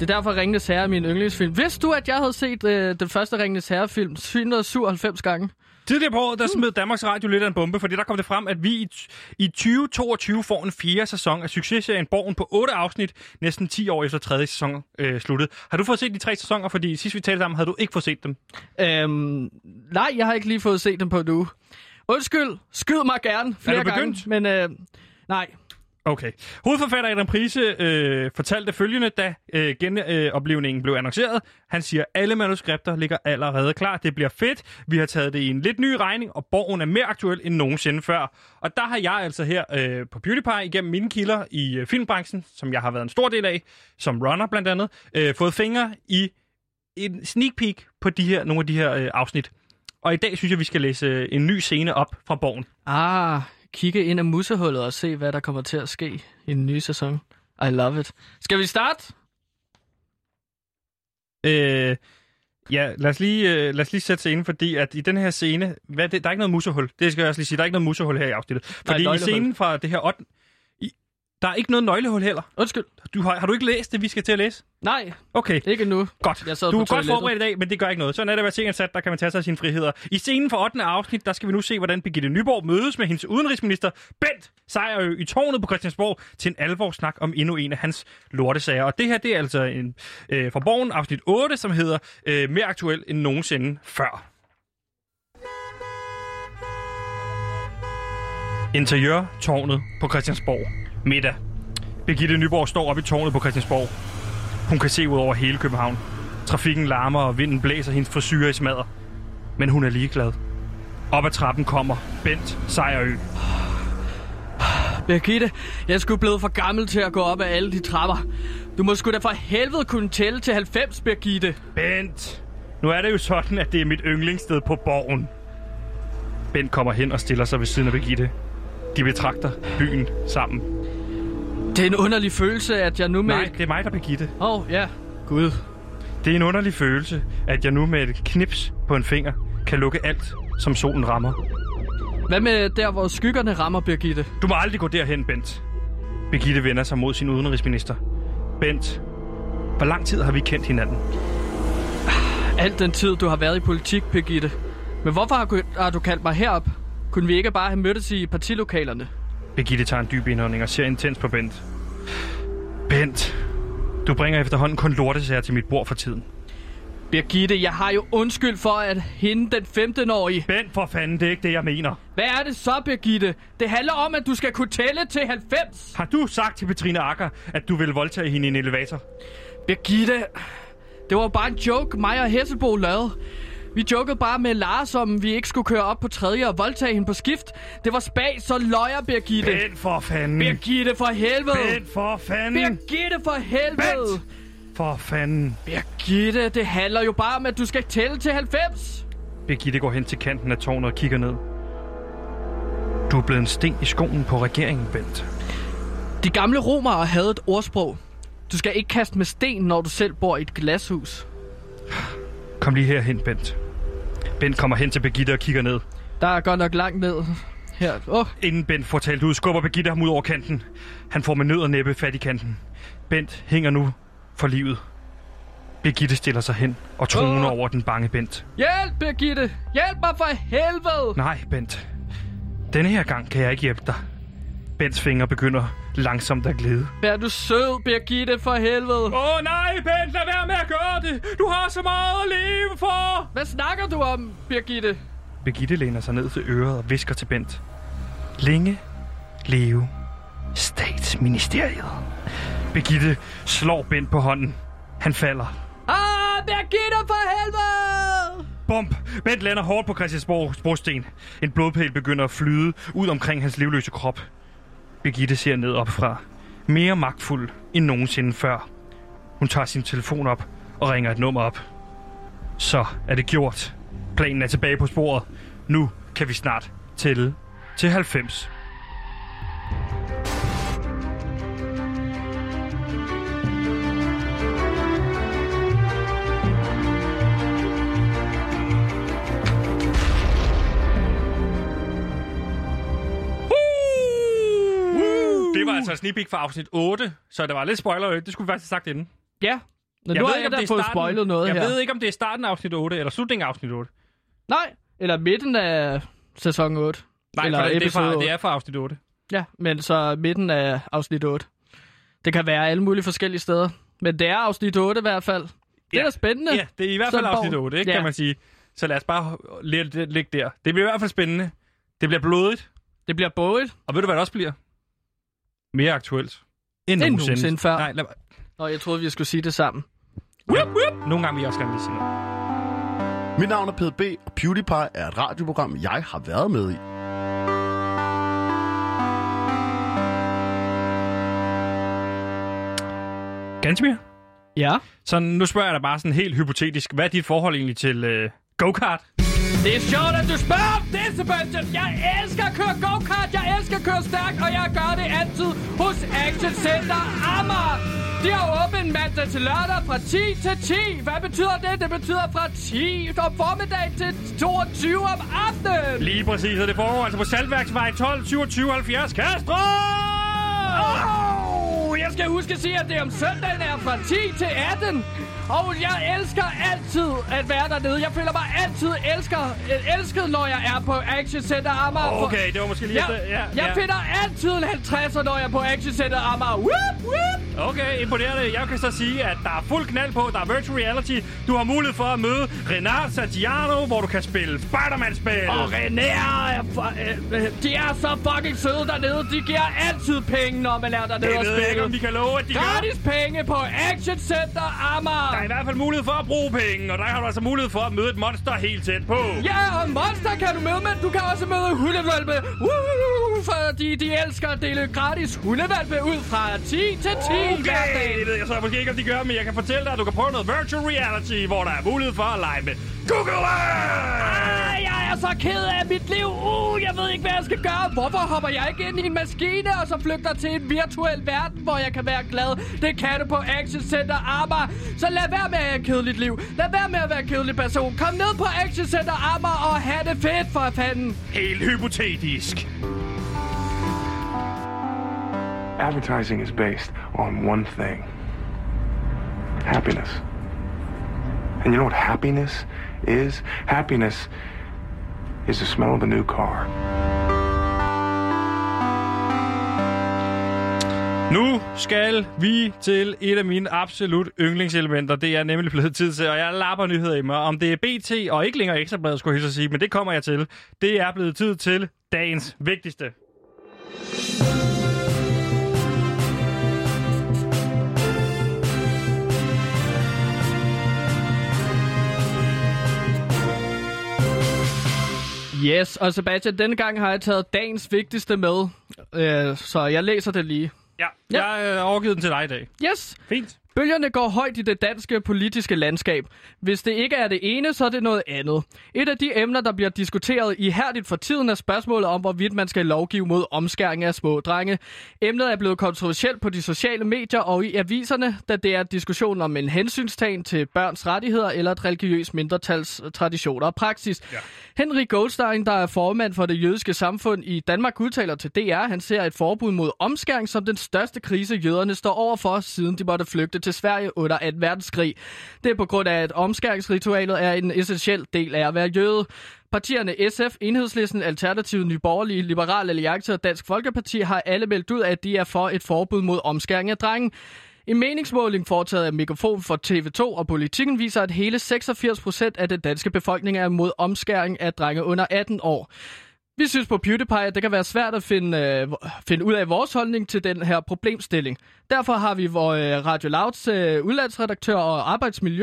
Det er derfor Ringenes Herre er min yndlingsfilm. Vidste du, at jeg havde set øh, den første Ringenes Herre-film 797 gange?
Tidligere på året, der smed Danmarks Radio lidt af en bombe, fordi der kom det frem, at vi i, t- i 2022 får en fjerde sæson af successerien Borgen på otte afsnit, næsten 10 år efter tredje sæson øh, sluttede. Har du fået set de tre sæsoner? Fordi sidst vi talte sammen, havde du ikke fået set dem.
Øhm, nej, jeg har ikke lige fået set den på nu. Undskyld, skyd mig gerne flere gange.
begyndt?
Men øh, nej,
Okay. Hovedforfatter Adam Prise øh, fortalte følgende, da øh, genoplevningen blev annonceret. Han siger, alle manuskripter ligger allerede klar. Det bliver fedt. Vi har taget det i en lidt ny regning, og borgen er mere aktuel end nogensinde før. Og der har jeg altså her øh, på PewDiePie, igennem mine kilder i øh, filmbranchen, som jeg har været en stor del af, som runner blandt andet, øh, fået fingre i en sneak peek på de her, nogle af de her øh, afsnit. Og i dag synes jeg, vi skal læse øh, en ny scene op fra borgen.
Ah, kigge ind af mussehullet og se, hvad der kommer til at ske i den nye sæson. I love it. Skal vi starte?
Øh, ja, lad os, lige, øh, lad os lige sætte scenen, fordi at i den her scene, hvad, det, der er ikke noget musehul. Det skal jeg også lige sige, der er ikke noget musehul her i afsnittet. Fordi i
nøglehul.
scenen fra det her 8. I, der er ikke noget nøglehul heller.
Undskyld.
Du har, har du ikke læst det, vi skal til at læse?
Nej,
Okay,
ikke nu.
godt.
Jeg sad
du
på
er godt
toilettet.
forberedt i dag, men det gør ikke noget. Sådan er det at være tingansat, der kan man tage sig af sine friheder. I scenen fra 8. afsnit, der skal vi nu se, hvordan Birgitte Nyborg mødes med hendes udenrigsminister Bent Sejerø i tårnet på Christiansborg til en alvorsnak om endnu en af hans lortesager. Og det her, det er altså en, øh, fra Borgen afsnit 8, som hedder øh, Mere aktuel end nogensinde før. Interiørtårnet på Christiansborg. Middag. Birgitte Nyborg står oppe i tårnet på Christiansborg. Hun kan se ud over hele København. Trafikken larmer, og vinden blæser hendes frisyrer i smadder. Men hun er ligeglad. Op ad trappen kommer Bent Sejerø.
Birgitte, jeg skulle blevet for gammel til at gå op ad alle de trapper. Du må sgu da for helvede kunne tælle til 90, Birgitte.
Bent! Nu er det jo sådan, at det er mit yndlingssted på borgen. Bent kommer hen og stiller sig ved siden af Birgitte. De betragter byen sammen.
Det er en underlig følelse, at jeg nu med...
Nej, det er mig, der er Birgitte.
Åh, oh, ja. Gud.
Det er en underlig følelse, at jeg nu med et knips på en finger kan lukke alt, som solen rammer.
Hvad med der, hvor skyggerne rammer, Birgitte?
Du må aldrig gå derhen, Bent. Birgitte vender sig mod sin udenrigsminister. Bent, hvor lang tid har vi kendt hinanden?
Alt den tid, du har været i politik, Birgitte. Men hvorfor har kun- har du kaldt mig herop? Kunne vi ikke bare have mødtes i partilokalerne?
Birgitte tager en dyb indånding og ser intens på Bent. Bent, du bringer efterhånden kun lortesager til mit bord for tiden.
Birgitte, jeg har jo undskyld for, at hende den 15-årige...
Bent, for fanden, det er ikke det, jeg mener.
Hvad er det så, Birgitte? Det handler om, at du skal kunne tælle til 90.
Har du sagt til Petrine Akker, at du vil voldtage hende i en elevator?
Birgitte, det var bare en joke, mig og Hessebo lavede. Vi jokede bare med Lars, om vi ikke skulle køre op på tredje og voldtage hende på skift. Det var spag, så løjer Birgitte.
Bent, for fanden.
Birgitte for helvede.
Bent, for fanden.
Birgitte for helvede.
Bent. For fanden.
Birgitte, det handler jo bare om, at du skal tælle til 90.
Birgitte går hen til kanten af tårnet og kigger ned. Du er blevet en sten i skoen på regeringen, Bent.
De gamle romere havde et ordsprog. Du skal ikke kaste med sten, når du selv bor i et glashus.
Kom lige herhen, Bent. Bent kommer hen til Birgitte og kigger ned.
Der er godt nok langt ned her. Åh, oh,
Inden Bent får talt ud, skubber Birgitte ham ud over kanten. Han får med nød og næppe fat i kanten. Bent hænger nu for livet. Birgitte stiller sig hen og troner
Åh!
over den bange Bent.
hjælp, Birgitte! Hjælp mig for helvede!
Nej, Bent. Denne her gang kan jeg ikke hjælpe dig. Bents fingre begynder langsomt at glide.
Vær du sød, Birgitte, for helvede!
Åh oh, nej, Bent, lad være med at gøre det! Du har så meget at leve for!
Hvad snakker du om, Birgitte?
Birgitte læner sig ned til øret og visker til Bent. Længe leve statsministeriet. Birgitte slår Bent på hånden. Han falder.
Ah, Birgitte, for helvede!
Bump! Bent lander hårdt på Christiansborgs brosten. En blodpæl begynder at flyde ud omkring hans livløse krop. Birgitte ser ned opfra. Mere magtfuld end nogensinde før. Hun tager sin telefon op og ringer et nummer op. Så er det gjort. Planen er tilbage på sporet. Nu kan vi snart tælle til 90. Det var altså sneak peek for afsnit 8, så det var lidt spoiler. Det skulle vi faktisk have sagt inden.
Ja, men nu har jeg da fået spoilet noget
jeg
her.
ved ikke, om det er starten af afsnit 8, eller slutningen af afsnit 8.
Nej, eller midten af sæson 8.
Nej,
eller
eller det, er fra,
8.
det er fra afsnit 8.
Ja, men så midten af afsnit 8. Det kan være alle mulige forskellige steder. Men det er afsnit 8 i hvert fald. Det ja.
Ja.
er da spændende.
Ja, det er i hvert fald
Sønderborg.
afsnit 8, ikke,
Ja.
kan man sige. Så lad os bare lidt, lidt, ligge der. Det bliver i hvert fald spændende. Det bliver blodigt.
Det bliver både.
Og ved du, hvad det også bliver? Mere aktuelt. End,
End nogensinde før.
Nej, lad, mig-
Nå, jeg troede, vi skulle sige det sammen.
nogle gange vil jeg også gerne lige sige noget.
Mit navn er PDB, og PewDiePie er et radioprogram, jeg har været med i.
Ganske mere.
Ja.
Så nu spørger jeg dig bare sådan helt hypotetisk. Hvad er dit forhold egentlig til øh, go-kart?
Det er sjovt, at du spørger om det, Sebastian. Jeg elsker at køre go-kart, jeg elsker at køre stærkt, og jeg gør det altid hos Action Center Amager. De har åbent mandag til lørdag fra 10 til 10. Hvad betyder det? Det betyder fra 10 om formiddagen til 22 om aftenen.
Lige præcis, og det foregår altså på Saltværksvej 12 27 70 Kastrup!
Oh, jeg skal huske at sige, at det om søndagen er fra 10 til 18. Og jeg elsker altid at være dernede. Jeg føler mig altid elsker, elsket, når jeg er på Action Center Amager. For-
Okay, det var måske lige...
Jeg, ja, jeg finder altid en 50'er, når jeg er på actioncenter Amager. Whoop, whoop.
Okay, imponerende. Jeg kan så sige, at der er fuld knald på. Der er virtual reality. Du har mulighed for at møde Renard Santiano, hvor du kan spille Spider-Man-spil.
Og René, er for- øh, øh, de er så fucking søde dernede. De giver altid penge, når man er dernede
det
og
ved jeg ikke, om de
spiller.
kan love, at de gør.
Gratis penge på actioncenter
Der er i
Amager.
hvert fald mulighed for at bruge penge, og der har du altså mulighed for at møde et monster helt tæt på.
Ja, og Monster kan du møde, men du kan også møde hundevalpe. Woo, Fordi de elsker at dele gratis hundevalpe ud fra 10 til 10 hver dag.
Okay, det ved jeg så måske ikke, om de gør, men jeg kan fortælle dig, at du kan prøve noget virtual reality, hvor der er mulighed for at lege med Google Earth!
Ej, jeg er så ked af mit liv. Uh, jeg ved ikke, hvad jeg skal gøre. Hvorfor hopper jeg ikke ind i en maskine, og så flygter til en virtuel verden, hvor jeg kan være glad? Det kan du på Action Center Amager. Så lad være med at have et kedeligt liv. Lad være med at være en kedelig person. Kom ned på Action Center Amager og have det fedt for fanden.
Helt hypotetisk.
Advertising is based on one thing happiness. And you know what happiness is? Happiness is the smell of a new car.
Nu skal vi til et af mine absolut yndlingselementer. Det er nemlig blevet tid til, og jeg lapper nyheder i mig. Om det er BT og ikke længere Ekstrabladet, skulle jeg hilse at sige, men det kommer jeg til. Det er blevet tid til dagens vigtigste.
Yes, og Sebastian, denne gang har jeg taget dagens vigtigste med. Øh, så jeg læser det lige.
Ja,
Ja.
jeg har øh, overgivet den til dig i dag.
Yes,
Fint.
Bølgerne går højt i det danske politiske landskab. Hvis det ikke er det ene, så er det noget andet. Et af de emner, der bliver diskuteret ihærdigt for tiden, er spørgsmålet om, hvorvidt man skal lovgive mod omskæring af små drenge. Emnet er blevet kontroversielt på de sociale medier og i aviserne, da det er diskussionen om en hensynstagen til børns rettigheder eller et religiøst mindretals traditioner og praksis. Ja. Henry Goldstein, der er formand for det jødiske samfund i Danmark, udtaler til DR, han ser et forbud mod omskæring som den største krise, jøderne står overfor, siden de måtte flygte til Sverige under 2. verdenskrig. Det er på grund af, at omskæringsritualet er en essentiel del af at være jøde. Partierne SF, Enhedslisten, Alternativet, Nye Borgerlige, Liberal Alliance og Dansk Folkeparti har alle meldt ud, at de er for et forbud mod omskæring af drenge. En meningsmåling foretaget af Mikrofon for TV2 og Politikken viser, at hele 86 procent af den danske befolkning er imod omskæring af drenge under 18 år. Vi synes på PewDiePie, at det kan være svært at finde, øh, finde ud af vores holdning til den her problemstilling. Derfor har vi vores øh, Radio Louds øh, udlandsredaktør og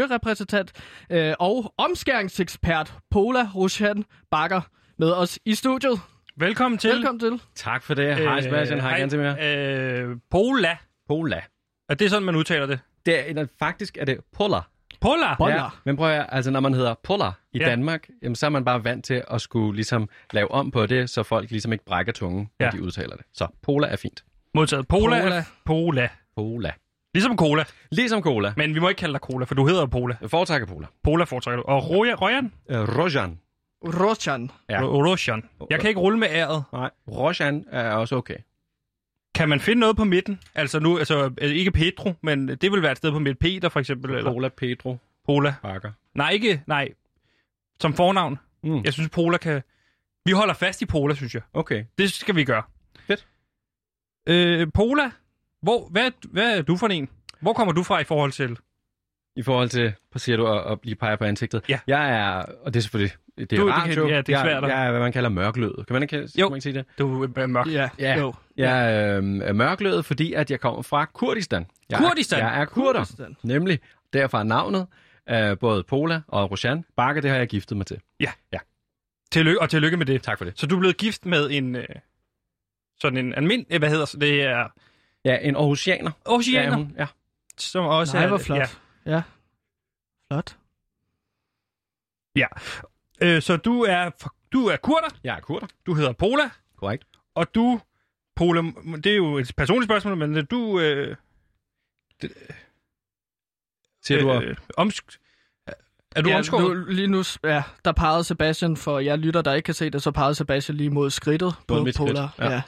arbejdsmiljørepræsentant øh, og omskæringsekspert Pola Roshan Bakker med os i studiet.
Velkommen til.
Velkommen til.
Tak for det. Hej Sebastian, Øh, hej igen til mere.
Øh, Pola.
Pola.
Er det sådan, man udtaler det?
Det er, eller faktisk er det Pola.
Pola.
Pola.
Ja, men prøv at høre, altså når man hedder Pola i
Ja.
ja. Danmark, jamen, så er man bare vant til at skulle ligesom lave om på det, så folk ligesom ikke brækker tungen, når
Ja.
de udtaler det. Så Pola er fint.
Modtaget. Pola.
Pola.
Pola. Pola.
Pola.
Ligesom cola.
Ligesom Cola.
Men vi må ikke kalde dig cola, for du hedder jo Pola.
Jeg foretrækker Pola.
Pola foretrækker du. Og Roya, Royan?
Øh, Rojan.
Roshan.
Ja.
Ja. Roshan. Jeg kan ikke rulle med æret.
Nej, Rojan er også okay.
Kan man finde noget på midten? Altså nu, altså øh, ikke Pedro, men det vil være et sted på midten. Peter for eksempel, eller
Pola Pedro
Pola.
Bakker.
Nej, ikke, nej. Som fornavn.
Mm.
Jeg synes, Pola kan... Vi holder fast i Pola, synes jeg.
Okay.
Det skal vi gøre.
Fedt.
Øh, Pola, hvor, hvad, hvad er du for en? Hvor kommer du fra i forhold til...
I forhold til, hvad siger du, at, at lige pege på ansigtet?
Ja.
Jeg er, og det er selvfølgelig, det er
Du- det
radio.
kan- ja, det er svært at-
Jeg, jeg er, hvad man kalder mørklødet. Kan man ikke, kan man ikke sige det?
Du er mørk.
Ja,
Ja.
jo.
Jeg er øh, mørklødet, fordi at jeg kommer fra Kurdistan. Jeg
Kurdistan?
Er, jeg er kurder,
Kurdistan.
Kurdistan. nemlig. Derfor er navnet, øh, både Pola og Roshan Bakker, det har jeg giftet mig til.
Tillykke, og tillykke med det.
Tak for det.
Så du er blevet gift med en... Øh, sådan en almindelig... Hvad hedder så- det? er
Ja, en Aarhusianer.
Oceaner,
Ja,
ja,
hun, ja.
som også
Nej,
er...
hvor flot. Ja. ja. Flot.
Ja. Øh, så du er, fra- du er kurder,
Jeg er kurder,
du hedder Pola,
korrekt.
og du... Pola, det er jo et personligt spørgsmål, men øh, du... Øh,
Siger du, at
øh, omsk... Er du ja,
ja,
omskåret?
Nu, lige nu, s- ja, der pegede Sebastian, for jeg lytter, der ikke kan se det, så pegede Sebastian lige mod skridtet
Mod
på
mit skridt,
Polar.
ja.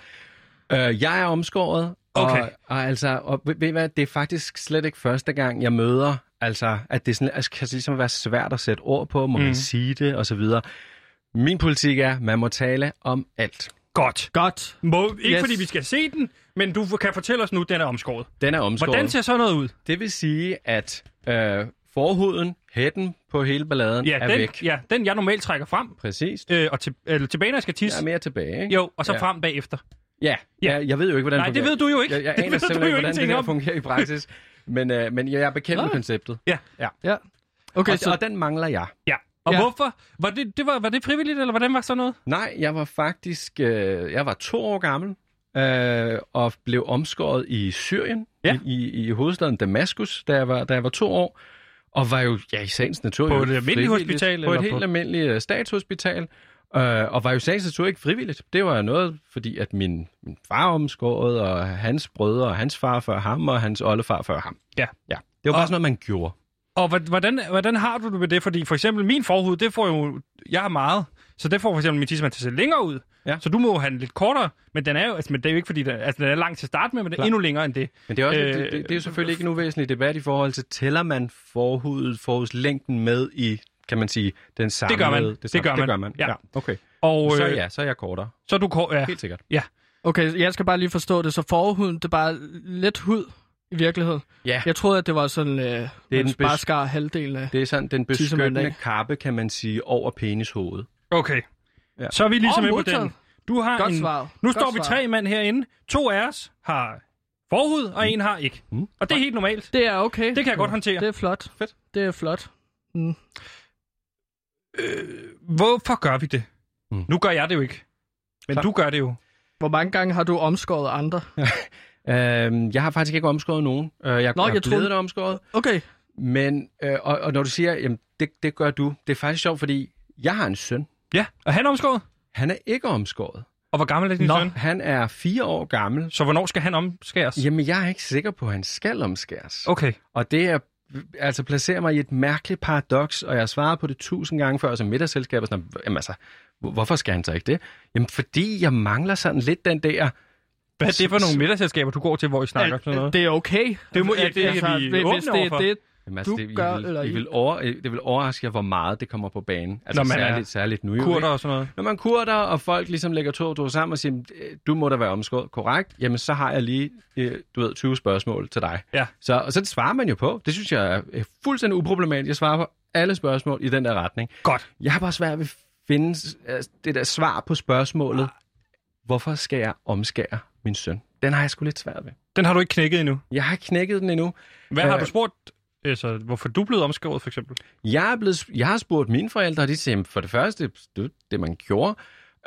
Ja.
Øh, jeg er omskåret. Og,
Okay.
Og, altså, og ved, ved I hvad, det er faktisk slet ikke første gang, jeg møder, altså, at det sådan, altså, kan ligesom være svært at sætte ord på, må mm.
Mm.
man sige det, og så videre. Min politik er, man må tale om alt.
Godt.
Godt.
Må, ikke
Yes.
yes. fordi vi skal se den, men du kan fortælle os nu, at den er omskåret.
Den er omskåret.
Hvordan ser sådan noget ud?
Det vil sige, at øh, forhuden, hætten på hele balladen
Ja,
er
den,
væk.
ja, den jeg normalt trækker frem,
Præcis.
øh, og til, eller tilbage, når jeg skal
Jeg er
tisse.
mere tilbage, ikke?
Jo, og så
Ja.
ja. frem bagefter.
Ja,
Ja.
ja. Jeg, jeg ved jo ikke, hvordan
Nej, det
fungerer.
ved du jo ikke.
Jeg, jeg
[LAUGHS] Det
aner
ved du
simpelthen
jo
ikke, hvordan det
ingenting
her
om.
fungerer i praksis. Men, øh, men jeg er bekendt med
Nej.
konceptet.
Okay,
Og,
så,
og den mangler jeg.
Ja. Og
Ja.
ja. hvorfor? Var det, det var, var det frivilligt, eller hvordan var sådan noget?
Nej, jeg var faktisk øh, jeg var to år gammel øh, og blev omskåret i Syrien,
Ja.
i, i, i hovedstaden Damaskus, da jeg, var, da jeg var to år. Og var jo ja, i sagens natur...
På
jo
et almindeligt
frivilligt.
hospital,
På et
eller
helt
på-
almindeligt øh, statshospital. Øh, og var jo i sagens natur ikke frivilligt. Det var noget, fordi at min, min far omskåret, og hans brødre, og hans far før ham, og hans oldefar før ham.
Ja.
ja. Det var bare
Og-
sådan noget, man gjorde.
Og hva- hvordan, hvordan har du det med det? Fordi for eksempel min forhud, det får jo... Jeg har meget, så det får for eksempel min tissemand til at se længere ud.
Ja.
Så du må jo have den lidt kortere, men den er jo, altså, men det er jo ikke fordi, den, altså, den er lang til at starte med, men den er
Klar.
endnu længere end det.
Men det er, også,
Øh,
øh, det, det, det er jo selvfølgelig ikke en uvæsentlig debat i forhold til, tæller man forhudet, forhudslængden med i, kan man sige, den samme...
Det gør man. Det
samme-
gør
Det
man.
gør man. Ja.
Ja.
ja. Okay.
Og
Så
øh,
ja, så er jeg kortere.
så er du kort, ja.
Helt sikkert.
okay, jeg skal bare lige forstå det. Så forhuden, det er bare lidt hud i virkeligheden.
Ja,
Jeg troede, at det var sådan, øh, det man
den
bare
bes-
skar halvdelen af.
det er sådan den
Tissemanden
beskyttende
af.
kappe, kan man sige, over penishovedet.
Okay.
Ja.
Ja. Så er vi ligesom oh,
Åh,
med på
modtaget.
den. Du har
Godt
en...
svaret.
Nu
Godt
står vi
svaret.
tre mand herinde. To af os har forhud, og en har ikke.
Mm.
Og det er helt normalt.
Det er okay.
Det kan jeg godt håndtere.
Det er flot.
Fedt.
Det er flot. Mm.
Hvorfor gør vi det?
Mm.
Nu gør jeg det jo ikke. Men
Tak.
du gør det jo.
Hvor mange gange har du omskåret andre?
Øh, jeg har faktisk ikke omskåret nogen. Øh, jeg, Nå, jeg, jeg
troede-
troede... det omskåret.
Okay.
Men, øh, og, og når du siger, jamen, det, det gør du, det er faktisk sjovt, fordi jeg har en søn.
Ja, og han er omskåret.
Han er ikke omskåret.
Og hvor gammel er din
Nå.
søn?
Han er fire år gammel.
Så hvornår skal han omskæres?
Jamen, jeg er ikke sikker på, at han skal omskæres.
Okay.
Og det er, altså placerer mig i et mærkeligt paradoks, og jeg har svaret på det tusind gange før som middagsselskab. Og sådan, jamen altså, hvor- hvorfor skal han så ikke det? Jamen fordi jeg mangler sådan lidt den der...
Hvad er det for nogle middagsselskaber, du går til, hvor I snakker om sådan noget?
Det er okay. Altså,
Det må- ja, det er vi
hvis
åbne
det er
overfor.
det,
Jamen, altså,
Du
det,
gør,
I vil,
eller
I
I-
vil over, øh, det vil overraske jer, hvor meget det kommer på banen. Altså
Når man er
særligt, særligt nu. jo, ikke?
Kurder og sådan noget.
Når man kurder, og folk ligesom lægger to og to sammen og siger, "Øh, du må da være omskåret korrekt, jamen så har jeg lige, øh, du ved, 20 spørgsmål til dig.
Ja.
Så, og så svarer man jo på. Det synes jeg er øh, fuldstændig uproblematisk. Jeg svarer på alle spørgsmål i den der retning.
Godt.
Jeg har bare svært ved at finde øh, det der svar på
Ah.
spørgsmålet, hvorfor skal jeg omskære min søn? Den har jeg sgu lidt svært ved.
Den har du ikke knækket endnu.
Jeg har ikke knækket den endnu.
Hvad har
Øh.
du spurgt? Altså, hvorfor du er blevet omskåret, for eksempel?
Jeg, er blevet, jeg har spurgt mine forældre, og de siger, "Jamen, for det første, det var det, man gjorde,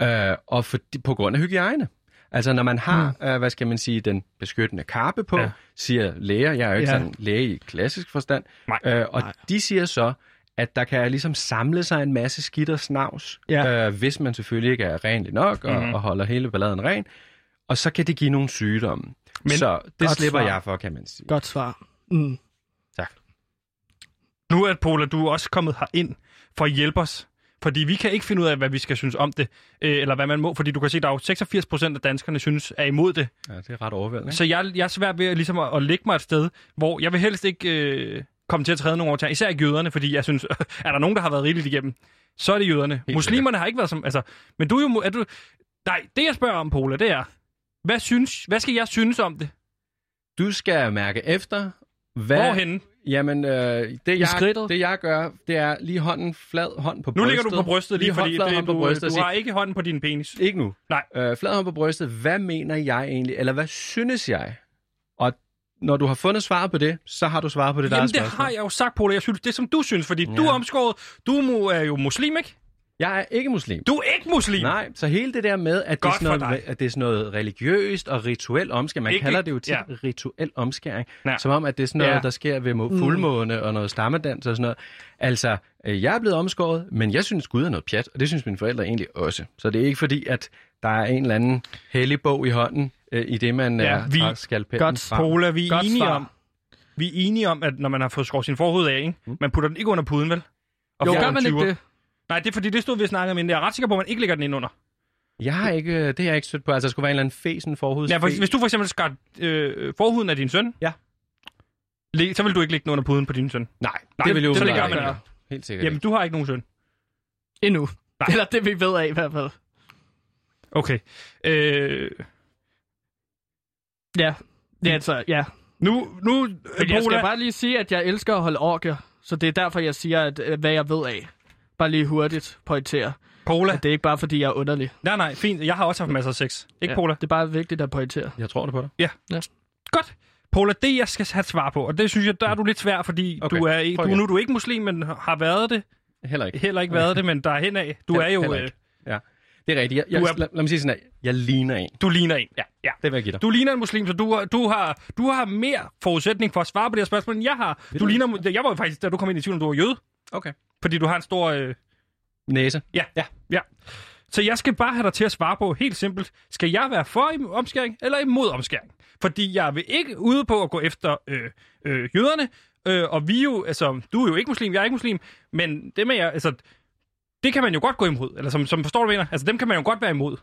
øh, og for, på grund af hygiejne. Altså, når man har, mm. øh, hvad skal man sige, den beskyttende kappe på,
Ja.
ja. siger læger, jeg er jo ikke
Ja.
ja. sådan læge i klassisk forstand,
Nej.
øh, og Nej. de siger så, at der kan ligesom samle sig en masse skidt og snavs,
Ja.
øh, hvis man selvfølgelig ikke er renlig nok og, mm. og holder hele balladen ren, og så kan det give nogle sygdomme. Men så det
Godt
slipper
svar.
jeg for, kan man sige.
Godt svar. Mm.
Tak.
Nu er Pola, du er også kommet herind for at hjælpe os. Fordi vi kan ikke finde ud af, hvad vi skal synes om det, øh, eller hvad man må. Fordi du kan se, at der er jo 86 procent af danskerne synes er imod det.
Ja, det er ret overvældende.
Så jeg, jeg er svært ved at, ligesom at, at lægge mig et sted, hvor jeg vil helst ikke øh, komme til at træde nogen over tæerne. Især ikke jøderne, fordi jeg synes, [LAUGHS] er der nogen, der har været rigeligt igennem, så er det jøderne.
Helt
Muslimerne har ikke været som... Altså, men du er jo... mu- Er du, nej, det jeg spørger om, Pola, det er, hvad, synes, hvad skal jeg synes om det?
Du skal mærke efter, hvad...
Hvorhenne?
Jamen, øh, det, jeg,
skridtet?
det jeg gør, det er lige hånden flad, hånd på
Nu
brystet.
ligger du på brystet lige, fordi
hånd flad,
det,
hånd på
du, øh,
brystet. og
du
sig,
har ikke hånden på din penis.
Ikke nu.
Nej.
Øh, flad hånd på brystet. Hvad mener jeg egentlig? Eller hvad synes jeg? Og når du har fundet svaret på det, så har du svaret på det, der
Jamen,
er
det
spørgsmålet.
har jeg jo sagt, Pola. Jeg synes, det er, som du synes, fordi ja. du
Ja.
er omskåret. Du er mu- er jo muslim, ikke?
jeg er ikke muslim.
Du er ikke muslim!
Nej, så hele det der med, at det, er
Godt
sådan
for
noget, at det er sådan noget religiøst og rituel omskæring. Man
Ikke-
ikke, kalder det jo tit
ja.
ja. rituel omskæring.
Ja.
Ja. Som om, at det er sådan noget,
Ja. Mm.
ja. der sker ved må- fuldmåne og noget stammedans og sådan noget. Altså, øh, jeg er blevet omskåret, men jeg synes Gud er noget pjat, og det synes mine forældre egentlig også. Så det er ikke fordi, at der er en eller anden hellig bog i hånden, øh, i det man
Ja,
ja,
vi-
vi... skal
Godt
Pola, vi er
Godt
enige
svar.
om, vi er enige om, at når man har fået skåret sin forhud af, ikke?
Mm.
man putter den ikke under puden, vel? Og
Jo,
får
gør
en
man ikke
20'er.
det?
Nej, det er fordi, det stod vi og snakkede om, men jeg er ret sikker på, at man ikke lægger den ind under.
Jeg har ikke, øh, det har jeg ikke stødt på. Altså, der skulle være en eller anden fesen forhudsfe.
Ja, for, hvis du for eksempel skar øh, forhuden af din søn,
Ja.
læg- så vil du ikke lægge den under puden på din søn.
Nej,
Nej,
Nej, det vil jo
så det
være-
gør man ikke.
Helt sikkert
Jamen, du har ikke nogen søn.
Endnu.
Nej.
Eller det, vi ved af i hvert fald.
Okay. Øh,
Ja. Ja, altså, ja.
nu, nu,
Men jeg
Pola,
skal bare lige sige, at jeg elsker at holde orker, så det er derfor, jeg siger, at, øh, hvad jeg ved af. Bare lige hurtigt pointere.
Pola.
At det er ikke bare, fordi jeg er underlig.
Nej, nej, fint. Jeg har også haft masser af sex. Ikke,
ja,
Pola?
Det er bare vigtigt at pointere.
Jeg tror det på dig.
Godt. Paula, det jeg skal have et svar på, og det synes jeg, der er du lidt svær, fordi okay.
Okay.
du er, ikke-
Prøv
du,
igen.
nu er du ikke muslim, men har været det.
Heller ikke.
Heller ikke været det, men der er henad. Du
Heller-
er jo,
heller
øh,
ikke. Ja, det er rigtigt. Jeg, jeg,
Du
du
er-
er... lad, lad mig sige sådan her. Jeg ligner en.
du ligner en. Ja. ja.
Det vil jeg give dig.
Du ligner en muslim, så du, har- du, har, du har mere forudsætning for at svare på det her spørgsmål, end jeg har. Du ligner, mu- jeg var jo faktisk, da du kom ind i tvivl, om du var jøde,
Okay.
fordi du har en stor... Øh,
Næse.
ja. ja. ja. Så jeg skal bare have dig til at svare på helt simpelt. Skal jeg være for im- omskæring eller imod omskæring? Fordi jeg vil ikke ude på at gå efter øh, øh, jøderne, øh, og vi er jo, altså, du er jo ikke muslim, jeg er ikke muslim, men det med jeg, altså, det kan man jo godt gå imod, eller som, som forstår du, hvad jeg mener, altså dem kan man jo godt være imod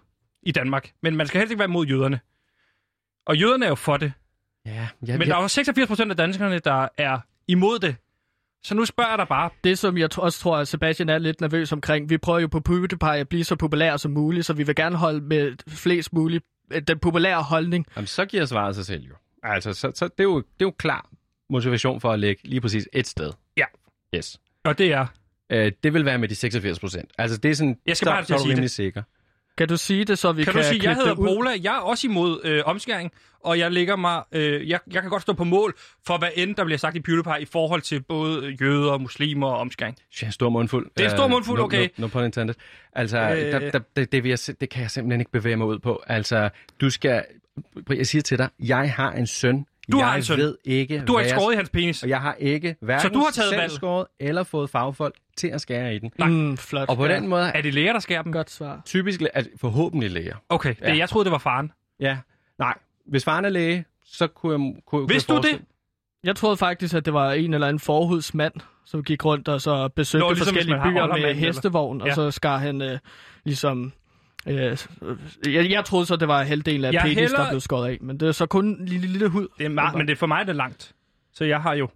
i Danmark, men man skal helst ikke være imod jøderne. Og jøderne er jo for det,
Ja, jeg,
men der er jo 86 procent af danskerne, der er imod det. Så nu spørger jeg dig bare,
Det, som jeg tr- også tror, at Sebastian er lidt nervøs omkring, vi prøver jo på PewDiePie at blive så populære som muligt, så vi vil gerne holde med flest muligt øh, den populære holdning.
Jamen, så giver svaret sig selv jo. Altså, så, så det, er jo, det er jo klar motivation for at lægge lige præcis et sted.
Ja.
Yes.
og det er,
Øh, det vil være med de 86 procent. Altså, det er sådan...
Jeg skal
så,
bare have dig til
så er
at
du
sige
rimelig
det.
sikker.
Kan du sige det, så vi kan,
Kan, kan du sige,
klippe
jeg hedder
det ud?
Bola, jeg er også imod øh, omskæring, og jeg ligger mig, øh, jeg, jeg kan godt stå på mål for, hvad end der bliver sagt i PewDiePie i forhold til både jøder, muslimer og omskæring.
Ja, stor mundfuld.
Det er stor
Øh,
mundfuld,
no-
okay.
No, no, pun intended. Altså, øh, der, der, det, det, vil jeg, sim- det kan jeg simpelthen ikke bevæge mig ud på. Altså, du skal... Jeg siger til dig, jeg har en søn.
Du
jeg
har en søn.
ved ikke,
Du har
hvad
ikke
jeg-
skåret i hans penis.
Og jeg har ikke hverken
Så du har taget
selv
valg?
skåret eller fået fagfolk til at skære i den.
Mm, flot.
Og på den måde er
Er det læger, der skærer dem?
det godt svar.
typisk at forhåbentlig læger.
Okay, det,
Ja.
jeg troede, det var faren.
Ja. Nej, hvis faren er læge, så kunne jeg... Kunne, kunne
Vidste
jeg
du det?
forestille-
Jeg troede faktisk, at det var en eller anden forhudsmand, som gik rundt og så besøgte
Nå,
Nå,
ligesom
ligesom forskellige
hvis man har
byer
oldermand,
med
eller-
hestevogn, og
Ja.
så skar han øh, ligesom... Øh, jeg, jeg troede så, det var halvdelen af
Jeg
penis,
hælder-
der blev skåret af, men det er så kun en lille, lille hud.
Det er meget, men det er for mig, det er langt. Så jeg har jo...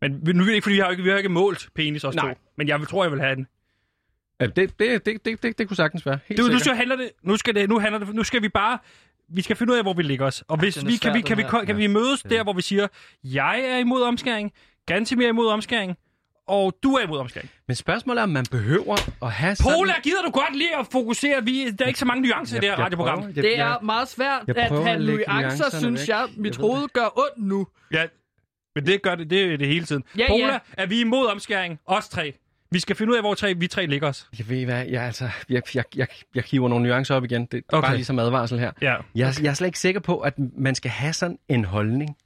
Men vi- nu er det ikke, fordi vi har, jo ikke, vi har jo ikke målt penis også
Nej.
to. Men jeg vil- tror, jeg vil have den.
Ja, det, det, det, det, det, det kunne sagtens være. Helt
Du, nu,
sikkert.
så handler det, nu, skal det, nu, handler det, nu skal vi bare... Vi skal finde ud af, hvor vi ligger os. Og hvis
den er
vi, kan,
svær,
vi,
den
kan, vi,
her.
kan, kan vi mødes der, hvor vi siger, jeg er imod omskæring, Gantemir er imod omskæring, og du er imod omskæring.
Men spørgsmålet er, om man behøver at have
Pola, gider du godt lige at fokusere? Vi, der er ikke så mange nuancer i det her radioprogram.
Det er meget svært
jeg prøver
at
at
have
lægge
nuancer,
nuancerne
synes
væk.
jeg.
Jeg
Mit
ved det.
hoved gør ondt nu.
Ja, men det gør det, det, er det hele tiden.
Ja,
Pola,
ja.
er vi imod omskæring? Os tre. Vi skal finde ud af, hvor tre, vi tre ligger os.
Jeg ved hvad, jeg, altså, jeg, jeg, jeg, jeg hiver nogle nuancer op igen. Det, det er
Okay.
bare ligesom advarsel her.
Ja.
Jeg, jeg er slet ikke sikker på, at man skal have sådan en holdning.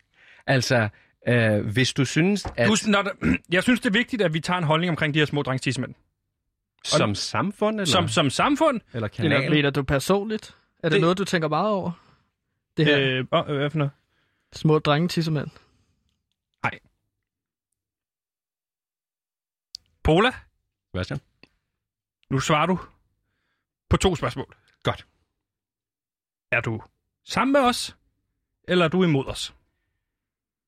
Altså, øh, hvis du synes, at
Du, når der, [CLEARS THROAT] jeg synes, det er vigtigt, at vi tager en holdning omkring de her små drengs tissemænd.
som samfund eller,
Som, som samfund.
eller
Eller
kanal...
bliver du personligt? Er det,
Det-
det noget, du tænker meget over? Det her øh...
Øh, åh, øh, hvad for noget?
små drengetissemænd.
Pola,
Sebastian?
nu svarer du på to spørgsmål.
Godt.
Er du sammen med os, eller er du imod os?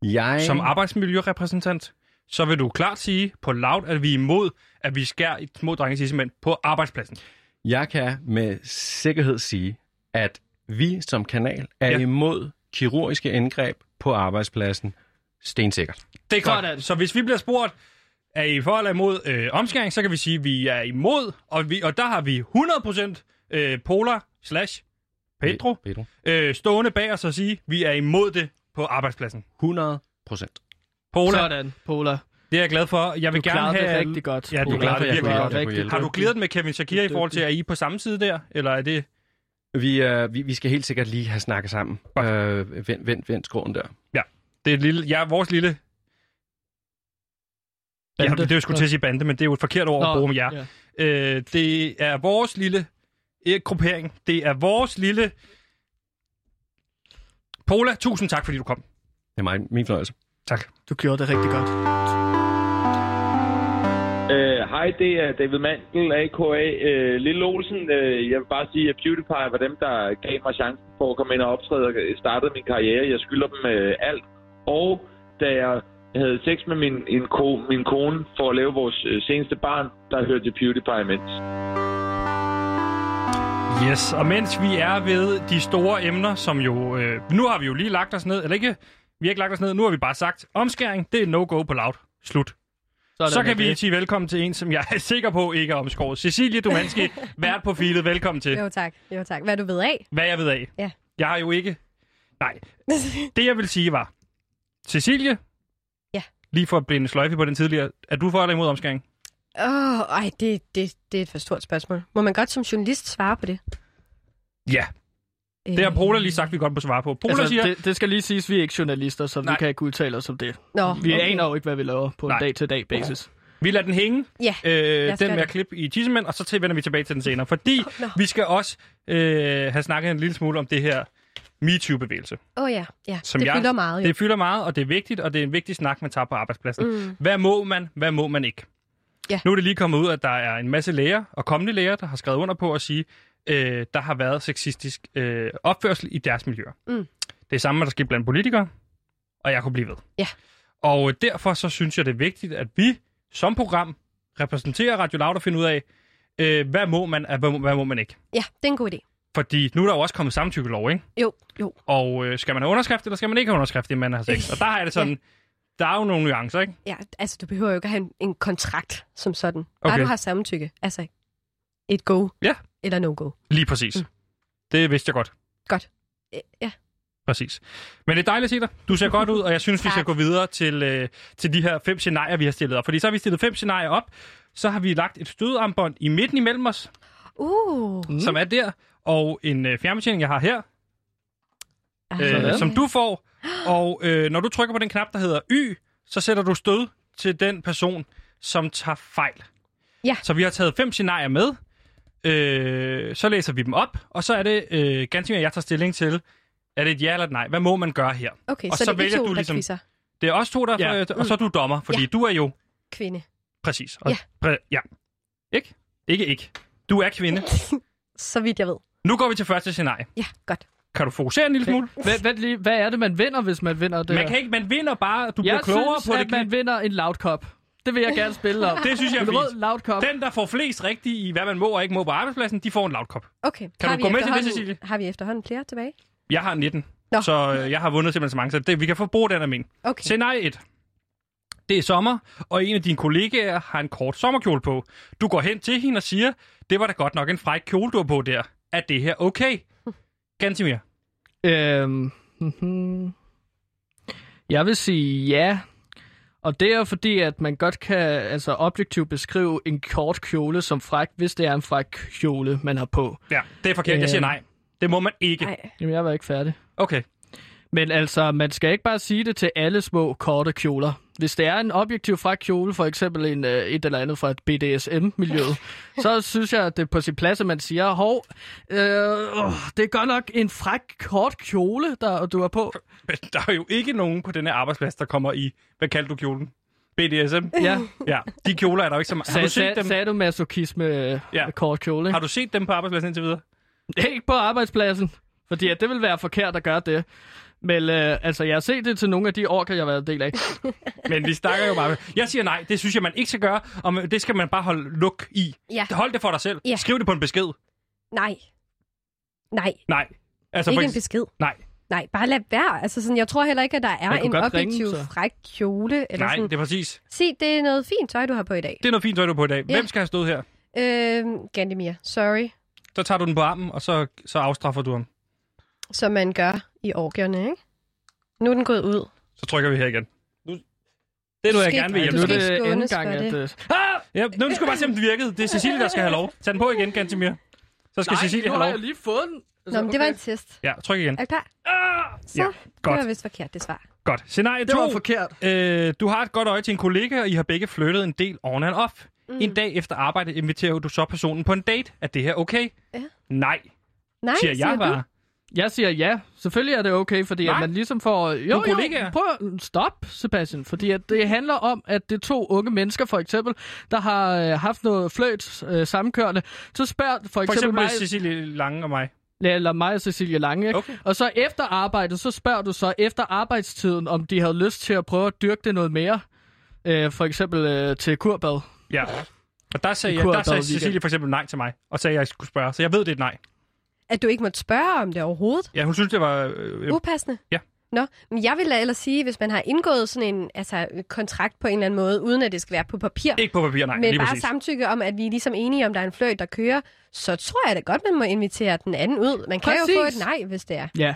Jeg...
Som arbejdsmiljørepræsentant, så vil du klart sige på loud, at vi er imod, at vi skærer i små drenges tissemænd på arbejdspladsen.
Jeg kan med sikkerhed sige, at vi som kanal er
Ja.
ja. imod kirurgiske indgreb på arbejdspladsen. Stensikkert.
Det er godt.
Sådan.
Så hvis vi bliver spurgt, er I for eller imod øh, omskæring, så kan vi sige, at vi er imod, og, vi, og der har vi 100% øh, Polar slash Pedro
Pedro.
øh, stående bag os og sige, at vi er imod det på arbejdspladsen.
100 procent.
Polar,
Sådan, Pola.
det er jeg glad for. Jeg vil
Du
gerne
klarede
have...
det rigtig godt.
Ja, du
Pola.
klarede det
Du
virkelig
var
godt.
Jeg kunne
rigtig
hjælpe.
Har du glædet med Kevin Shakira i forhold til, at I er på samme side der? Eller er det...
Vi, øh, vi, vi skal helt sikkert lige have snakket sammen. Øh, vent, vent, vent skråen der.
Det er et lille, ja, vores lille... Ja,
Bande.
det er jo sgu til at sige bande, men det er jo et forkert ord at bruge om jer.
ja.
Øh, det er vores lille ikke gruppering. Det er vores lille... Pola, tusind tak, fordi du kom.
Det er mig, min fornøjelse.
Tak.
Du gjorde det rigtig godt.
Øh, Hej, det er David Mandel, a.k.a. Øh, Lille Olsen. Øh, jeg vil bare sige, at PewDiePie var dem, der gav mig chancen for at komme ind og optræde og startede min karriere. Jeg skylder dem øh, alt. Og da jeg havde sex med min, en ko, min kone for at lave vores øh, seneste barn, der hørte jeg PewDiePie imens.
Yes, og mens vi er ved de store emner, som jo... Øh, nu har vi jo lige lagt os ned, eller ikke? Vi har ikke lagt os ned, nu har vi bare sagt, omskæring, det er no-go på loud. Slut.
Sådan
Så
er
kan vi
det.
sige velkommen til en, som jeg er sikker på ikke er omskåret. Cecilie
[LAUGHS]
Dumanski, vært på filet, velkommen til.
Jo tak, jo tak. Hvad du ved af?
Hvad jeg ved af.
Ja.
Jeg har jo ikke...
[LAUGHS]
Nej. Det jeg vil sige var... Cecilie?
Ja.
Lige for at blinde sløjfe på den tidligere. Er du for eller imod omskæring?
Åh, oh, ej, det, det, det er et for stort spørgsmål. Må man godt som journalist svare på det?
Ja. Det har Pola lige sagt, vi godt må svare på. Pola altså,
Altså,
siger... Det...
det, det skal lige siges, vi er ikke journalister, så Nej.
Nej.
vi kan ikke udtale os om det.
Nå,
Vi okay. aner jo ikke, hvad vi laver på en
Nej.
dag-til-dag basis.
Vi lader den hænge.
Ja,
Øh,
skal
den med at
det.
klippe i tissemænd, og så til- vender vi tilbage til den senere. Fordi oh,
nå.
vi skal også øh, have snakket en lille smule om det her MeToo-bevægelse.
Åh oh, ja, ja.
Som
det
jeg-
fylder meget jo.
Det fylder meget, og det er vigtigt, og det er en vigtig snak, man tager på arbejdspladsen. Mm. Hvad må man, hvad må man ikke?
Ja.
Nu er det lige kommet ud, at der er en masse læger og kommende læger, der har skrevet under på at sige, øh, der har været sexistisk øh, opførsel i deres miljøer.
Mm.
Det er samme, der sker blandt politikere, og jeg kunne blive ved.
Ja.
Og øh, derfor så synes jeg, det er vigtigt, at vi som program repræsenterer Radio Loud og finder ud af, øh, hvad må man, og hvad må, hvad må man ikke.
Ja, det er en god idé.
Fordi nu er der jo også kommet samtykkelov, ikke?
Jo, jo.
Og øh, skal man have underskrift, eller skal man ikke have underskrift, inden man har sex? Og der har jeg det sådan, der er jo nogle nuancer, ikke?
Ja, altså du behøver jo ikke at have en, en kontrakt som sådan. Bare
Okay.
du har samtykke. Altså, et go.
Ja,
eller no-go.
Lige præcis. Mm.
Mm.
Det vidste jeg godt.
Godt. Øh, Ja.
Præcis. Men det er dejligt at se dig. Du ser godt ud, og jeg synes, vi
Tak.
skal gå videre til, øh, til de her fem scenarier, vi har stillet op. Fordi så har vi stillet fem scenarier op, så har vi lagt et stødarmbånd i midten imellem os,
Uh,
mm. som er der, og en øh, fjernbetjening, jeg har her, øh,
ej.
som du får. Og øh, når du trykker på den knap, der hedder Y, så sætter du stød til den person, som tager fejl.
Ja.
Så vi har taget fem scenarier med. Øh, så læser vi dem op, og så er det øh, ganske mere, jeg tager stilling til, er det et ja eller et nej? Hvad må man gøre her?
Okay,
og
så,
så
det er
vælger
ikke to,
du
der
ligesom-
ligesom... quizzer.
Det er også to, der
Ja.
ja. og så er du dommer, fordi ja.
Ja.
du er jo
Kvinde.
præcis. Og,
Ja.
Præ- ja. Ikke? Ikke ikke. Du er kvinde.
[LAUGHS] Så vidt jeg ved.
Nu går vi til første scenarie.
Ja, godt.
Kan du fokusere en lille smule?
Vent, vent lige, hvad er det, man vinder, hvis man vinder det
Man
her?
kan ikke, man vinder bare, du bliver
Jeg
klogere
synes,
på
at
det.
man vinder en loud cup. Det vil jeg gerne spille om.
[LAUGHS] Det synes jeg er
en
fint.
rød loud cup.
Den, der får flest rigtigt i, hvad man må og ikke må på arbejdspladsen, de får en lavkop.
Okay.
Kan
har
du gå
vi
med til det,
efterhånden-
Cecilie?
Har vi efterhånden flere tilbage?
Jeg har 19,
Nå.
så øh, jeg har vundet simpelthen så mange, så det, vi kan få brug den af min.
Okay.
Scenarie 1. Det er sommer, og en af dine kollegaer har en kort sommerkjole på. Du går hen til hende og siger, det var da godt nok en fræk kjole, du har på der. Er det her okay? Gantimir.
Øhm, mhm. jeg vil sige ja. Og det er jo fordi, at man godt kan altså, objektivt beskrive en kort kjole som fræk, hvis det er en fræk kjole, man har på.
Ja, det er forkert. Jeg siger
Øhm.
nej. Det må man ikke.
Nej.
Jamen, jeg var ikke færdig.
Okay.
Men altså, man skal ikke bare sige det til alle små, korte kjoler. Hvis det er en objektiv fræk kjole, for eksempel en, øh, et eller andet fra et BDSM-miljø,
[LAUGHS]
så synes jeg, at det er på sin plads, at man siger, hov, øh, åh, det er godt nok en fræk, kort kjole, der du har på.
Men der er jo ikke nogen på denne arbejdsplads, der kommer i, hvad kalder du kjolen? BDSM?
Ja.
Ja, de kjoler er der jo ikke så mange. Har du set
Sag, sag,
dem?
sagde du masochisme
Ja.
ja. kort kjole?
Har
Ikke?
du set dem på arbejdspladsen indtil videre?
Du... ikke på arbejdspladsen, fordi at det vil være forkert at gøre det. Men øh, altså, jeg har set det til nogle af de orker, jeg har været en del af.
Men vi snakker jo bare... Jeg siger nej, det synes jeg, man ikke skal gøre, og man- det skal man bare holde luk i.
Ja.
Hold det for dig selv.
Ja.
Skriv det på en besked.
Nej. Nej.
Nej. Altså,
Ikke
for
en besked.
Nej,
Nej, bare lad være. Altså, sådan, jeg tror heller ikke, at der er
Man kunne
en
godt ringe,
objektiv
så.
fræk kjole. Eller
nej,
sådan.
det er præcis.
Se, det er noget fint tøj, du har på i dag.
Det er noget fint tøj, du har på i dag.
Ja.
Hvem skal have stået her?
Øhm, Gandemir, sorry,
Så tager du den på armen, og så, så afstraffer du ham.
som man gør i orgierne, ikke? Nu er den gået ud.
Så trykker vi her igen. Nu... Det er
Du
noget, jeg
skal
gerne vil
ikke-
hjælpe
du
nu er
med.
skal ikke
det anden
skånes
gang,
for
at... Øh,
Ja, nu skal vi bare se, om det virkede. Det er Cecilie, der skal have lov. Tag den på igen, Gantimir. Så skal Cecilie
nu
have
har
lov.
jeg lige fået den. Altså,
Nå, men det var en test.
Ja, tryk igen.
Er du klar? Så,
ja,
det
godt.
var vist forkert, det svar.
Godt. Scenarie 2.
Ah! det var forkert.
Øh, du har et godt øje til en kollega, og I har begge flyttet en del on and off. Mm. En dag efter arbejde inviterer du så personen på en date. Er det her okay?
Ja.
Nej,
Nej,
siger jeg
du?
bare.
Jeg siger ja. Selvfølgelig er det okay, fordi
Nej.
at man ligesom får... Jo,
er kollegaer.
jo, prøv at stop, Sebastian. Fordi at det handler om, at det er to unge mennesker, for eksempel, der har øh, haft noget fløjt øh, sammenkørende. Så spørger for
For
eksempel,
eksempel
mig...
Cecilie Lange og mig.
Ja, eller mig og Cecilie Lange. Ikke?
Okay.
Og så efter arbejdet, så spørger du så efter arbejdstiden, om de havde lyst til at prøve at dyrke det noget mere. Øh, for eksempel øh, til kurbad.
Ja. Og der sagde,
Det
jeg,
kunne
der
have
sagde
været
Cecilie
weekend.
for eksempel nej til mig, og sagde, at jeg skulle spørge. Så jeg ved, det er et nej.
At du ikke måtte spørge om det overhovedet?
Ja, hun synes, det var... Øh, øh,
Upassende?
Ja.
Nå, men jeg vil da ellers sige, hvis man har indgået sådan en altså, kontrakt på en eller anden måde, uden at det skal være på papir,
ikke på papir, nej.
men
lige
bare
præcis.
samtykke om, at vi er ligesom enige om, der er en fløjt, der kører, så tror jeg da godt, man må invitere den anden ud. Man kan jo få et
Præcis.
nej, hvis det er.
Ja.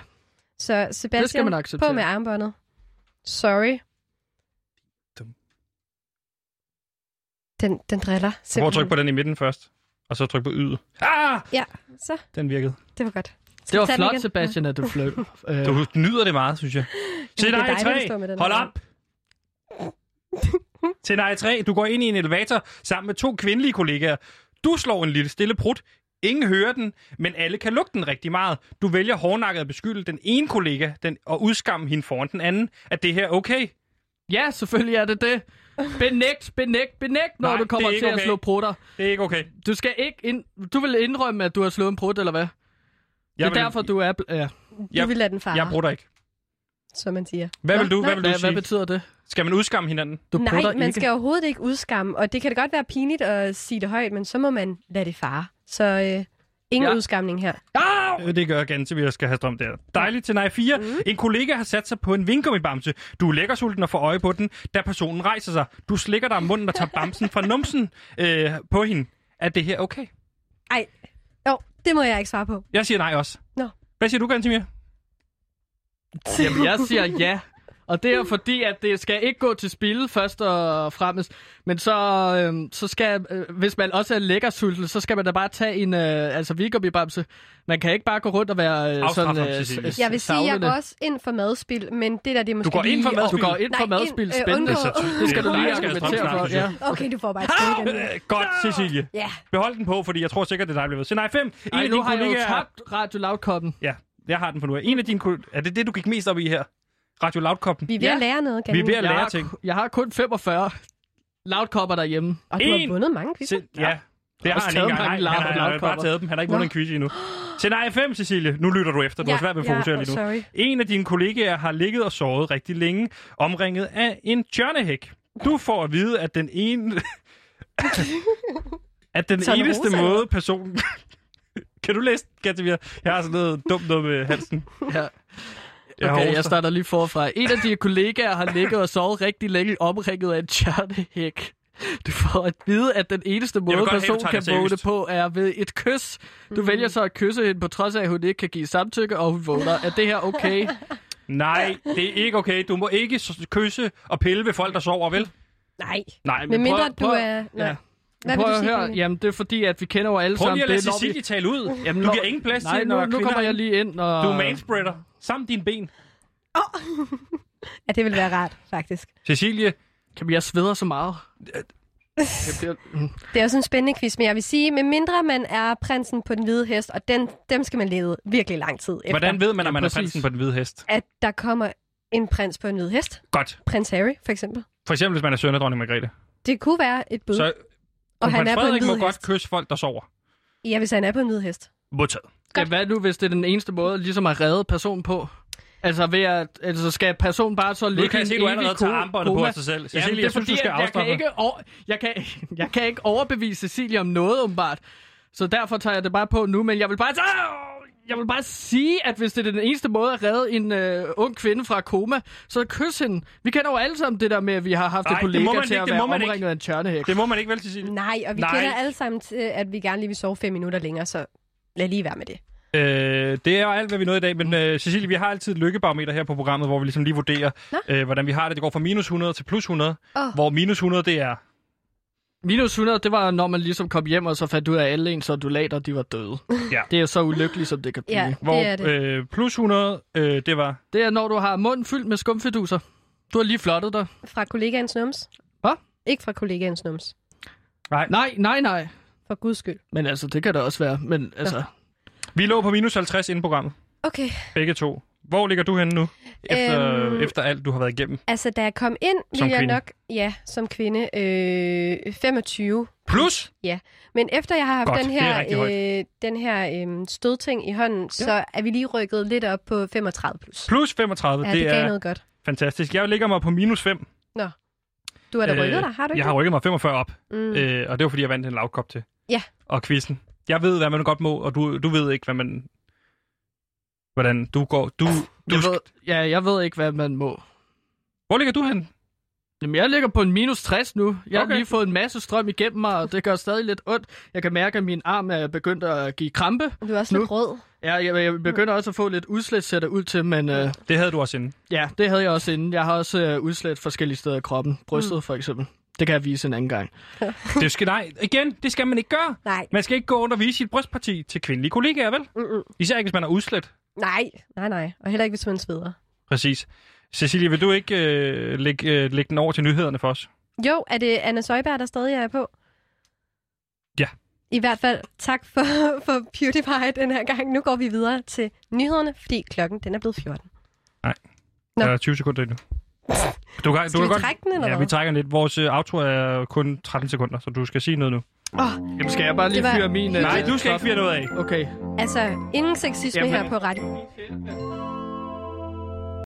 Så Sebastian,
man acceptere.
på med armbåndet. Sorry.
Dum.
Den, den driller simpelthen.
Prøv at trykke på den i midten først, og så tryk på ydet. Ah!
Ja, så.
Den virkede.
Det var godt.
Det
Skal vi
var
tage den
flot,
igen?
Sebastian, at du fløj. Øh,
Du nyder det meget, synes jeg.
det er
Scenarie
dejligt at stå
3.
med den
Hold
her.
op. Scenarie 3. Du går ind i en elevator sammen med to kvindelige kollegaer. Du slår en lille stille prut. Ingen hører den, men alle kan lugte den rigtig meget. Du vælger hårdnakket at beskylde den ene kollega den, og udskamme hende foran den anden. Er det her okay?
Ja, selvfølgelig er det det. Benægt, benægt, benægt, når
Nej,
du kommer
det er ikke
til okay. at
okay.
slå prutter.
Det er ikke okay.
Du skal ikke ind... Du vil indrømme, at du har slået en prut, eller hvad? Det er
vil-
derfor, du er... bl- Ja.
Du vil lade den fare,
Jeg bruger dig ikke.
som man siger.
Hvad
Nå,
vil du,
nej.
hvad vil du
Hvad, hvad
sige?
betyder det?
Skal man udskamme hinanden?
Du
Nej,
prutter
man
ikke.
skal overhovedet ikke udskamme, og det kan da godt være pinligt at sige det højt, men så må man lade det fare. Så øh, ingen
Ja.
ja. udskamning her.
Øh, Det gør jeg gerne, til vi skal have strøm der. Dejligt til nej 4. Mm. En kollega har sat sig på en vingummibamse. Du er lækker sulten og får øje på den, da personen rejser sig. Du slikker dig om
[LAUGHS]
munden og tager bamsen fra numsen øh, på hende. Er det her okay?
Ej, jo, Det må jeg ikke svare på.
Jeg siger nej også.
Nå.
Hvad siger du, Gantimir?
Jamen, jeg siger ja. Og det er jo fordi, at det skal ikke gå til spil først og fremmest. Men så, øhm, så skal, øh, hvis man også er lækker sulten, så skal man da bare tage en øh, altså vikobibamse. Man kan ikke bare gå rundt og være øh,
Afstraf
sådan...
ham, Cecilie.
s- s-
Jeg vil sige, jeg
savlende.
går også ind for madspil, men det der, det er måske
går ind for
lige-
madspil?
Du går ind for
Nej, ind-
madspil.
øh,
Spændende.
undgå-
Det skal du lige
Jeg skal
argumentere
stoppe
for.
snart,
Ja.
synes
Okay, du får bare et sted igen.
Øh, Godt, Cecilie.
Ja,
Behold den på, fordi jeg tror sikkert, det er dig, der bliver ved. Så nej, fem. En
Ej,
af
nu
dine
har jeg jo
kollegaer...
tabt Radio Loud-koppen.
Ja, jeg har den for nu. af. En af dine kollegaer... Er det det, du gik mest op i her? Radio Loud-koppen.
vi er ved
Ja.
at lære noget,
Vi
Ganni.
er ved at
Jeg
lære
har,
ting.
ku- jeg har kun 45 Loud-kopper derhjemme.
Og du har
En-
vundet mange quizzer.
Se, ja. Det har
også
han
taget
ikke engang.
mange
Nej,
Loud-
han har- han har bare
Loud-kopper.
taget dem. Han har ikke vundet en quiz endnu. Scenarie 5, Cecilie. Nu lytter du efter. Du har svært ved at fokusere lige nu.
Ah, Sorry.
En af dine kollegaer har ligget og sovet rigtig længe, omringet af en tjørnehæk. Du får at vide, at [LAUGHS] den ene... at den
Tørne
eneste
rosa,
måde
eller?
personen... [LAUGHS] kan du læse, Katamir? Jeg har sådan noget dumt noget med halsen.
Ja.
Jeg
Okay,
hoster.
jeg starter lige forfra. En af dine kollegaer har ligget og sovet rigtig længe omringet af en tjørnehæk. Du får at vide, at den eneste
vil
måde,
godt have, du
personen
tager
kan
det
vågne
seriøst.
på, er ved et kys.
Mhm.
Du vælger så at kysse hende, på trods af, at hun ikke kan give samtykke, og hun vågner. Er det her
[LAUGHS]
okay?
Nej, det er ikke okay. Du må ikke s- kysse og pille ved folk, der sover, vel?
Nej.
Nej,
Men
men
mindre
prøv-
du
prøv-
er... Nej.
Ja.
Hvad vil
Prøv
du
at
sige,
høre.
Benny?
Jamen, det er fordi, at vi kender jo alle
prøv lige
sammen
at lade
det, når vi-
Cecilie tale ud. Jamen, du
når-
giver ingen plads
Nej,
til,
nu,
når
nu
kvinder-
kommer jeg lige ind og...
Du er manspreader. Samt dine ben.
Ja, det ville være rart, faktisk.
Cecilie,
Jamen, jeg sveder så meget. Jeg bliver...
Det er også en spændende quiz, men jeg vil sige, med mindre man er prinsen på den hvide hest, og den, dem skal man lede virkelig lang tid efter,
hvordan ved man,
Ja,
at man er
præcis.
prinsen på den hvide hest?
at der kommer en prins på en hvid hest.
Godt.
Prins Harry, for eksempel.
For eksempel, hvis man er søn af dronning Margrethe.
Det kunne være et bud.
Så
og han
prins
er på en
Frederik
hvid
må
hest.
godt kysse folk, der sover.
Ja, hvis han er på en hvid hest.
Modtaget.
Ja, hvad nu, hvis det er den eneste måde ligesom at redde personen på? Altså, ved at, altså skal personen bare så ligge
Nu kan jeg se,
i
at
en
du
evig
allerede tager armbåndet på
koma?
af sig selv.
Jamen,
Cecilie,
det er
jeg synes,
fordi,
du skal
at jeg kan,
afstoppe.
ikke over, jeg, kan, jeg kan ikke overbevise Cecilie om noget, åbenbart. Så derfor tager jeg det bare på nu, men jeg vil bare, Au! jeg vil bare sige, at hvis det er den eneste måde at redde en øh, ung kvinde fra koma, så kys hende. Vi kender jo alle sammen det der med, at vi har haft
Nej,
en
det må
kollega
man
til
ikke,
at
det
være
må man
omringet
ikke.
af en tørnehæk.
Det må man ikke, vel, Cecilie?
Nej, og vi
Nej.
kender alle sammen til, at vi gerne lige vil sove fem minutter længere, så lad lige være med det.
Øh, det er jo alt, hvad vi nåede i dag, men øh, Cecilie, vi har altid et lykkebarometer her på programmet, hvor vi ligesom lige vurderer,
Nå.
øh, hvordan vi har det. Det går fra minus 100 til plus 100,
Åh.
hvor minus 100, det er...
Minus 100, det var, når man ligesom kom hjem, og så fandt ud af, at alle ens soldater, de var døde.
Ja.
Det er så ulykkeligt, som det kan blive.
Ja,
Ja.
Hvor
det er det.
Øh, plus 100, øh, det var...
Det er, når du har munden fyldt med skumfiduser. Du har lige flottet dig.
Fra kollegaens nums?
Hvad?
Ikke fra kollegaens nums.
Nej, nej, nej.
For guds skyld.
Men altså, det kan det også være. Men altså, ja.
Vi lå på minus 50 inden programmet,
Okay,
begge to. Hvor ligger du henne nu, efter,
Øhm.
efter alt, du har været igennem?
altså da jeg kom ind,
Som
ville jeg
kvinde?
nok... Ja, som kvinde. Øh, 25.
Plus!
Men efter jeg har haft
Godt,
den
det er
her,
rigtig højt.
øh, den her øh, stødting i hånden, ja. så er vi lige rykket lidt op på 35 plus.
Plus 35,
Ja,
det,
det, gav
er øh,
noget godt.
fantastisk. Jeg ligger mig på minus 5.
Du har da
Øh,
rykket dig, har du ikke?
Jeg har rykket mig 45 op,
det? mm.
øh, og det var, fordi jeg vandt en lavkop til.
Ja.
Og quizzen. Jeg ved, hvad man godt må, og du, du ved ikke, hvad man... Hvordan du går... Du, du
jeg, ved, ja, jeg ved ikke, hvad man må.
Hvor ligger du hen?
Jamen, jeg ligger på en minus 60 nu. Jeg okay.
Okay.
har lige fået en masse strøm igennem mig, og det gør stadig lidt ondt. Jeg kan mærke, at min arm er begyndt at give krampe.
Du er også
nu-
lidt rød.
Ja, jeg, jeg begynder også at få lidt udslæt, ser det ud til, men øh,
Det havde du også inden.
ja, det havde jeg også inden. Jeg har også øh, udslæt forskellige steder i kroppen. Brystet
Mm.
for eksempel. Det kan jeg vise en anden gang.
Det skal, nej, igen, det skal man ikke gøre.
Nej.
Man skal ikke gå rundt og vise sit brystparti til kvindelige kollegaer, vel?
Mm-mm.
Især ikke, hvis man er udslet.
Nej, nej, nej. Og heller ikke, hvis man sveder.
Præcis. Cecilie, vil du ikke øh, lægge, øh, lægge den over til nyhederne for os?
Jo, er det Anna Søjberg, der stadig er på?
Ja.
I hvert fald tak for, for PewDiePie den her gang. Nu går vi videre til nyhederne, fordi klokken den er blevet 14. Nå.
Nå. Der er 20 sekunder endnu. Du kan,
Skal vi trække den, eller
Ja,
hvad?
vi trækker den lidt. Vores øh, outro er kun 13 sekunder, så du skal sige noget nu.
Jamen, skal jeg bare lige
Det var-
fyre min... øh,
Nej, du skal ikke fyre noget af.
Okay.
Altså, ingen sexisme
Jamen.
her på radio.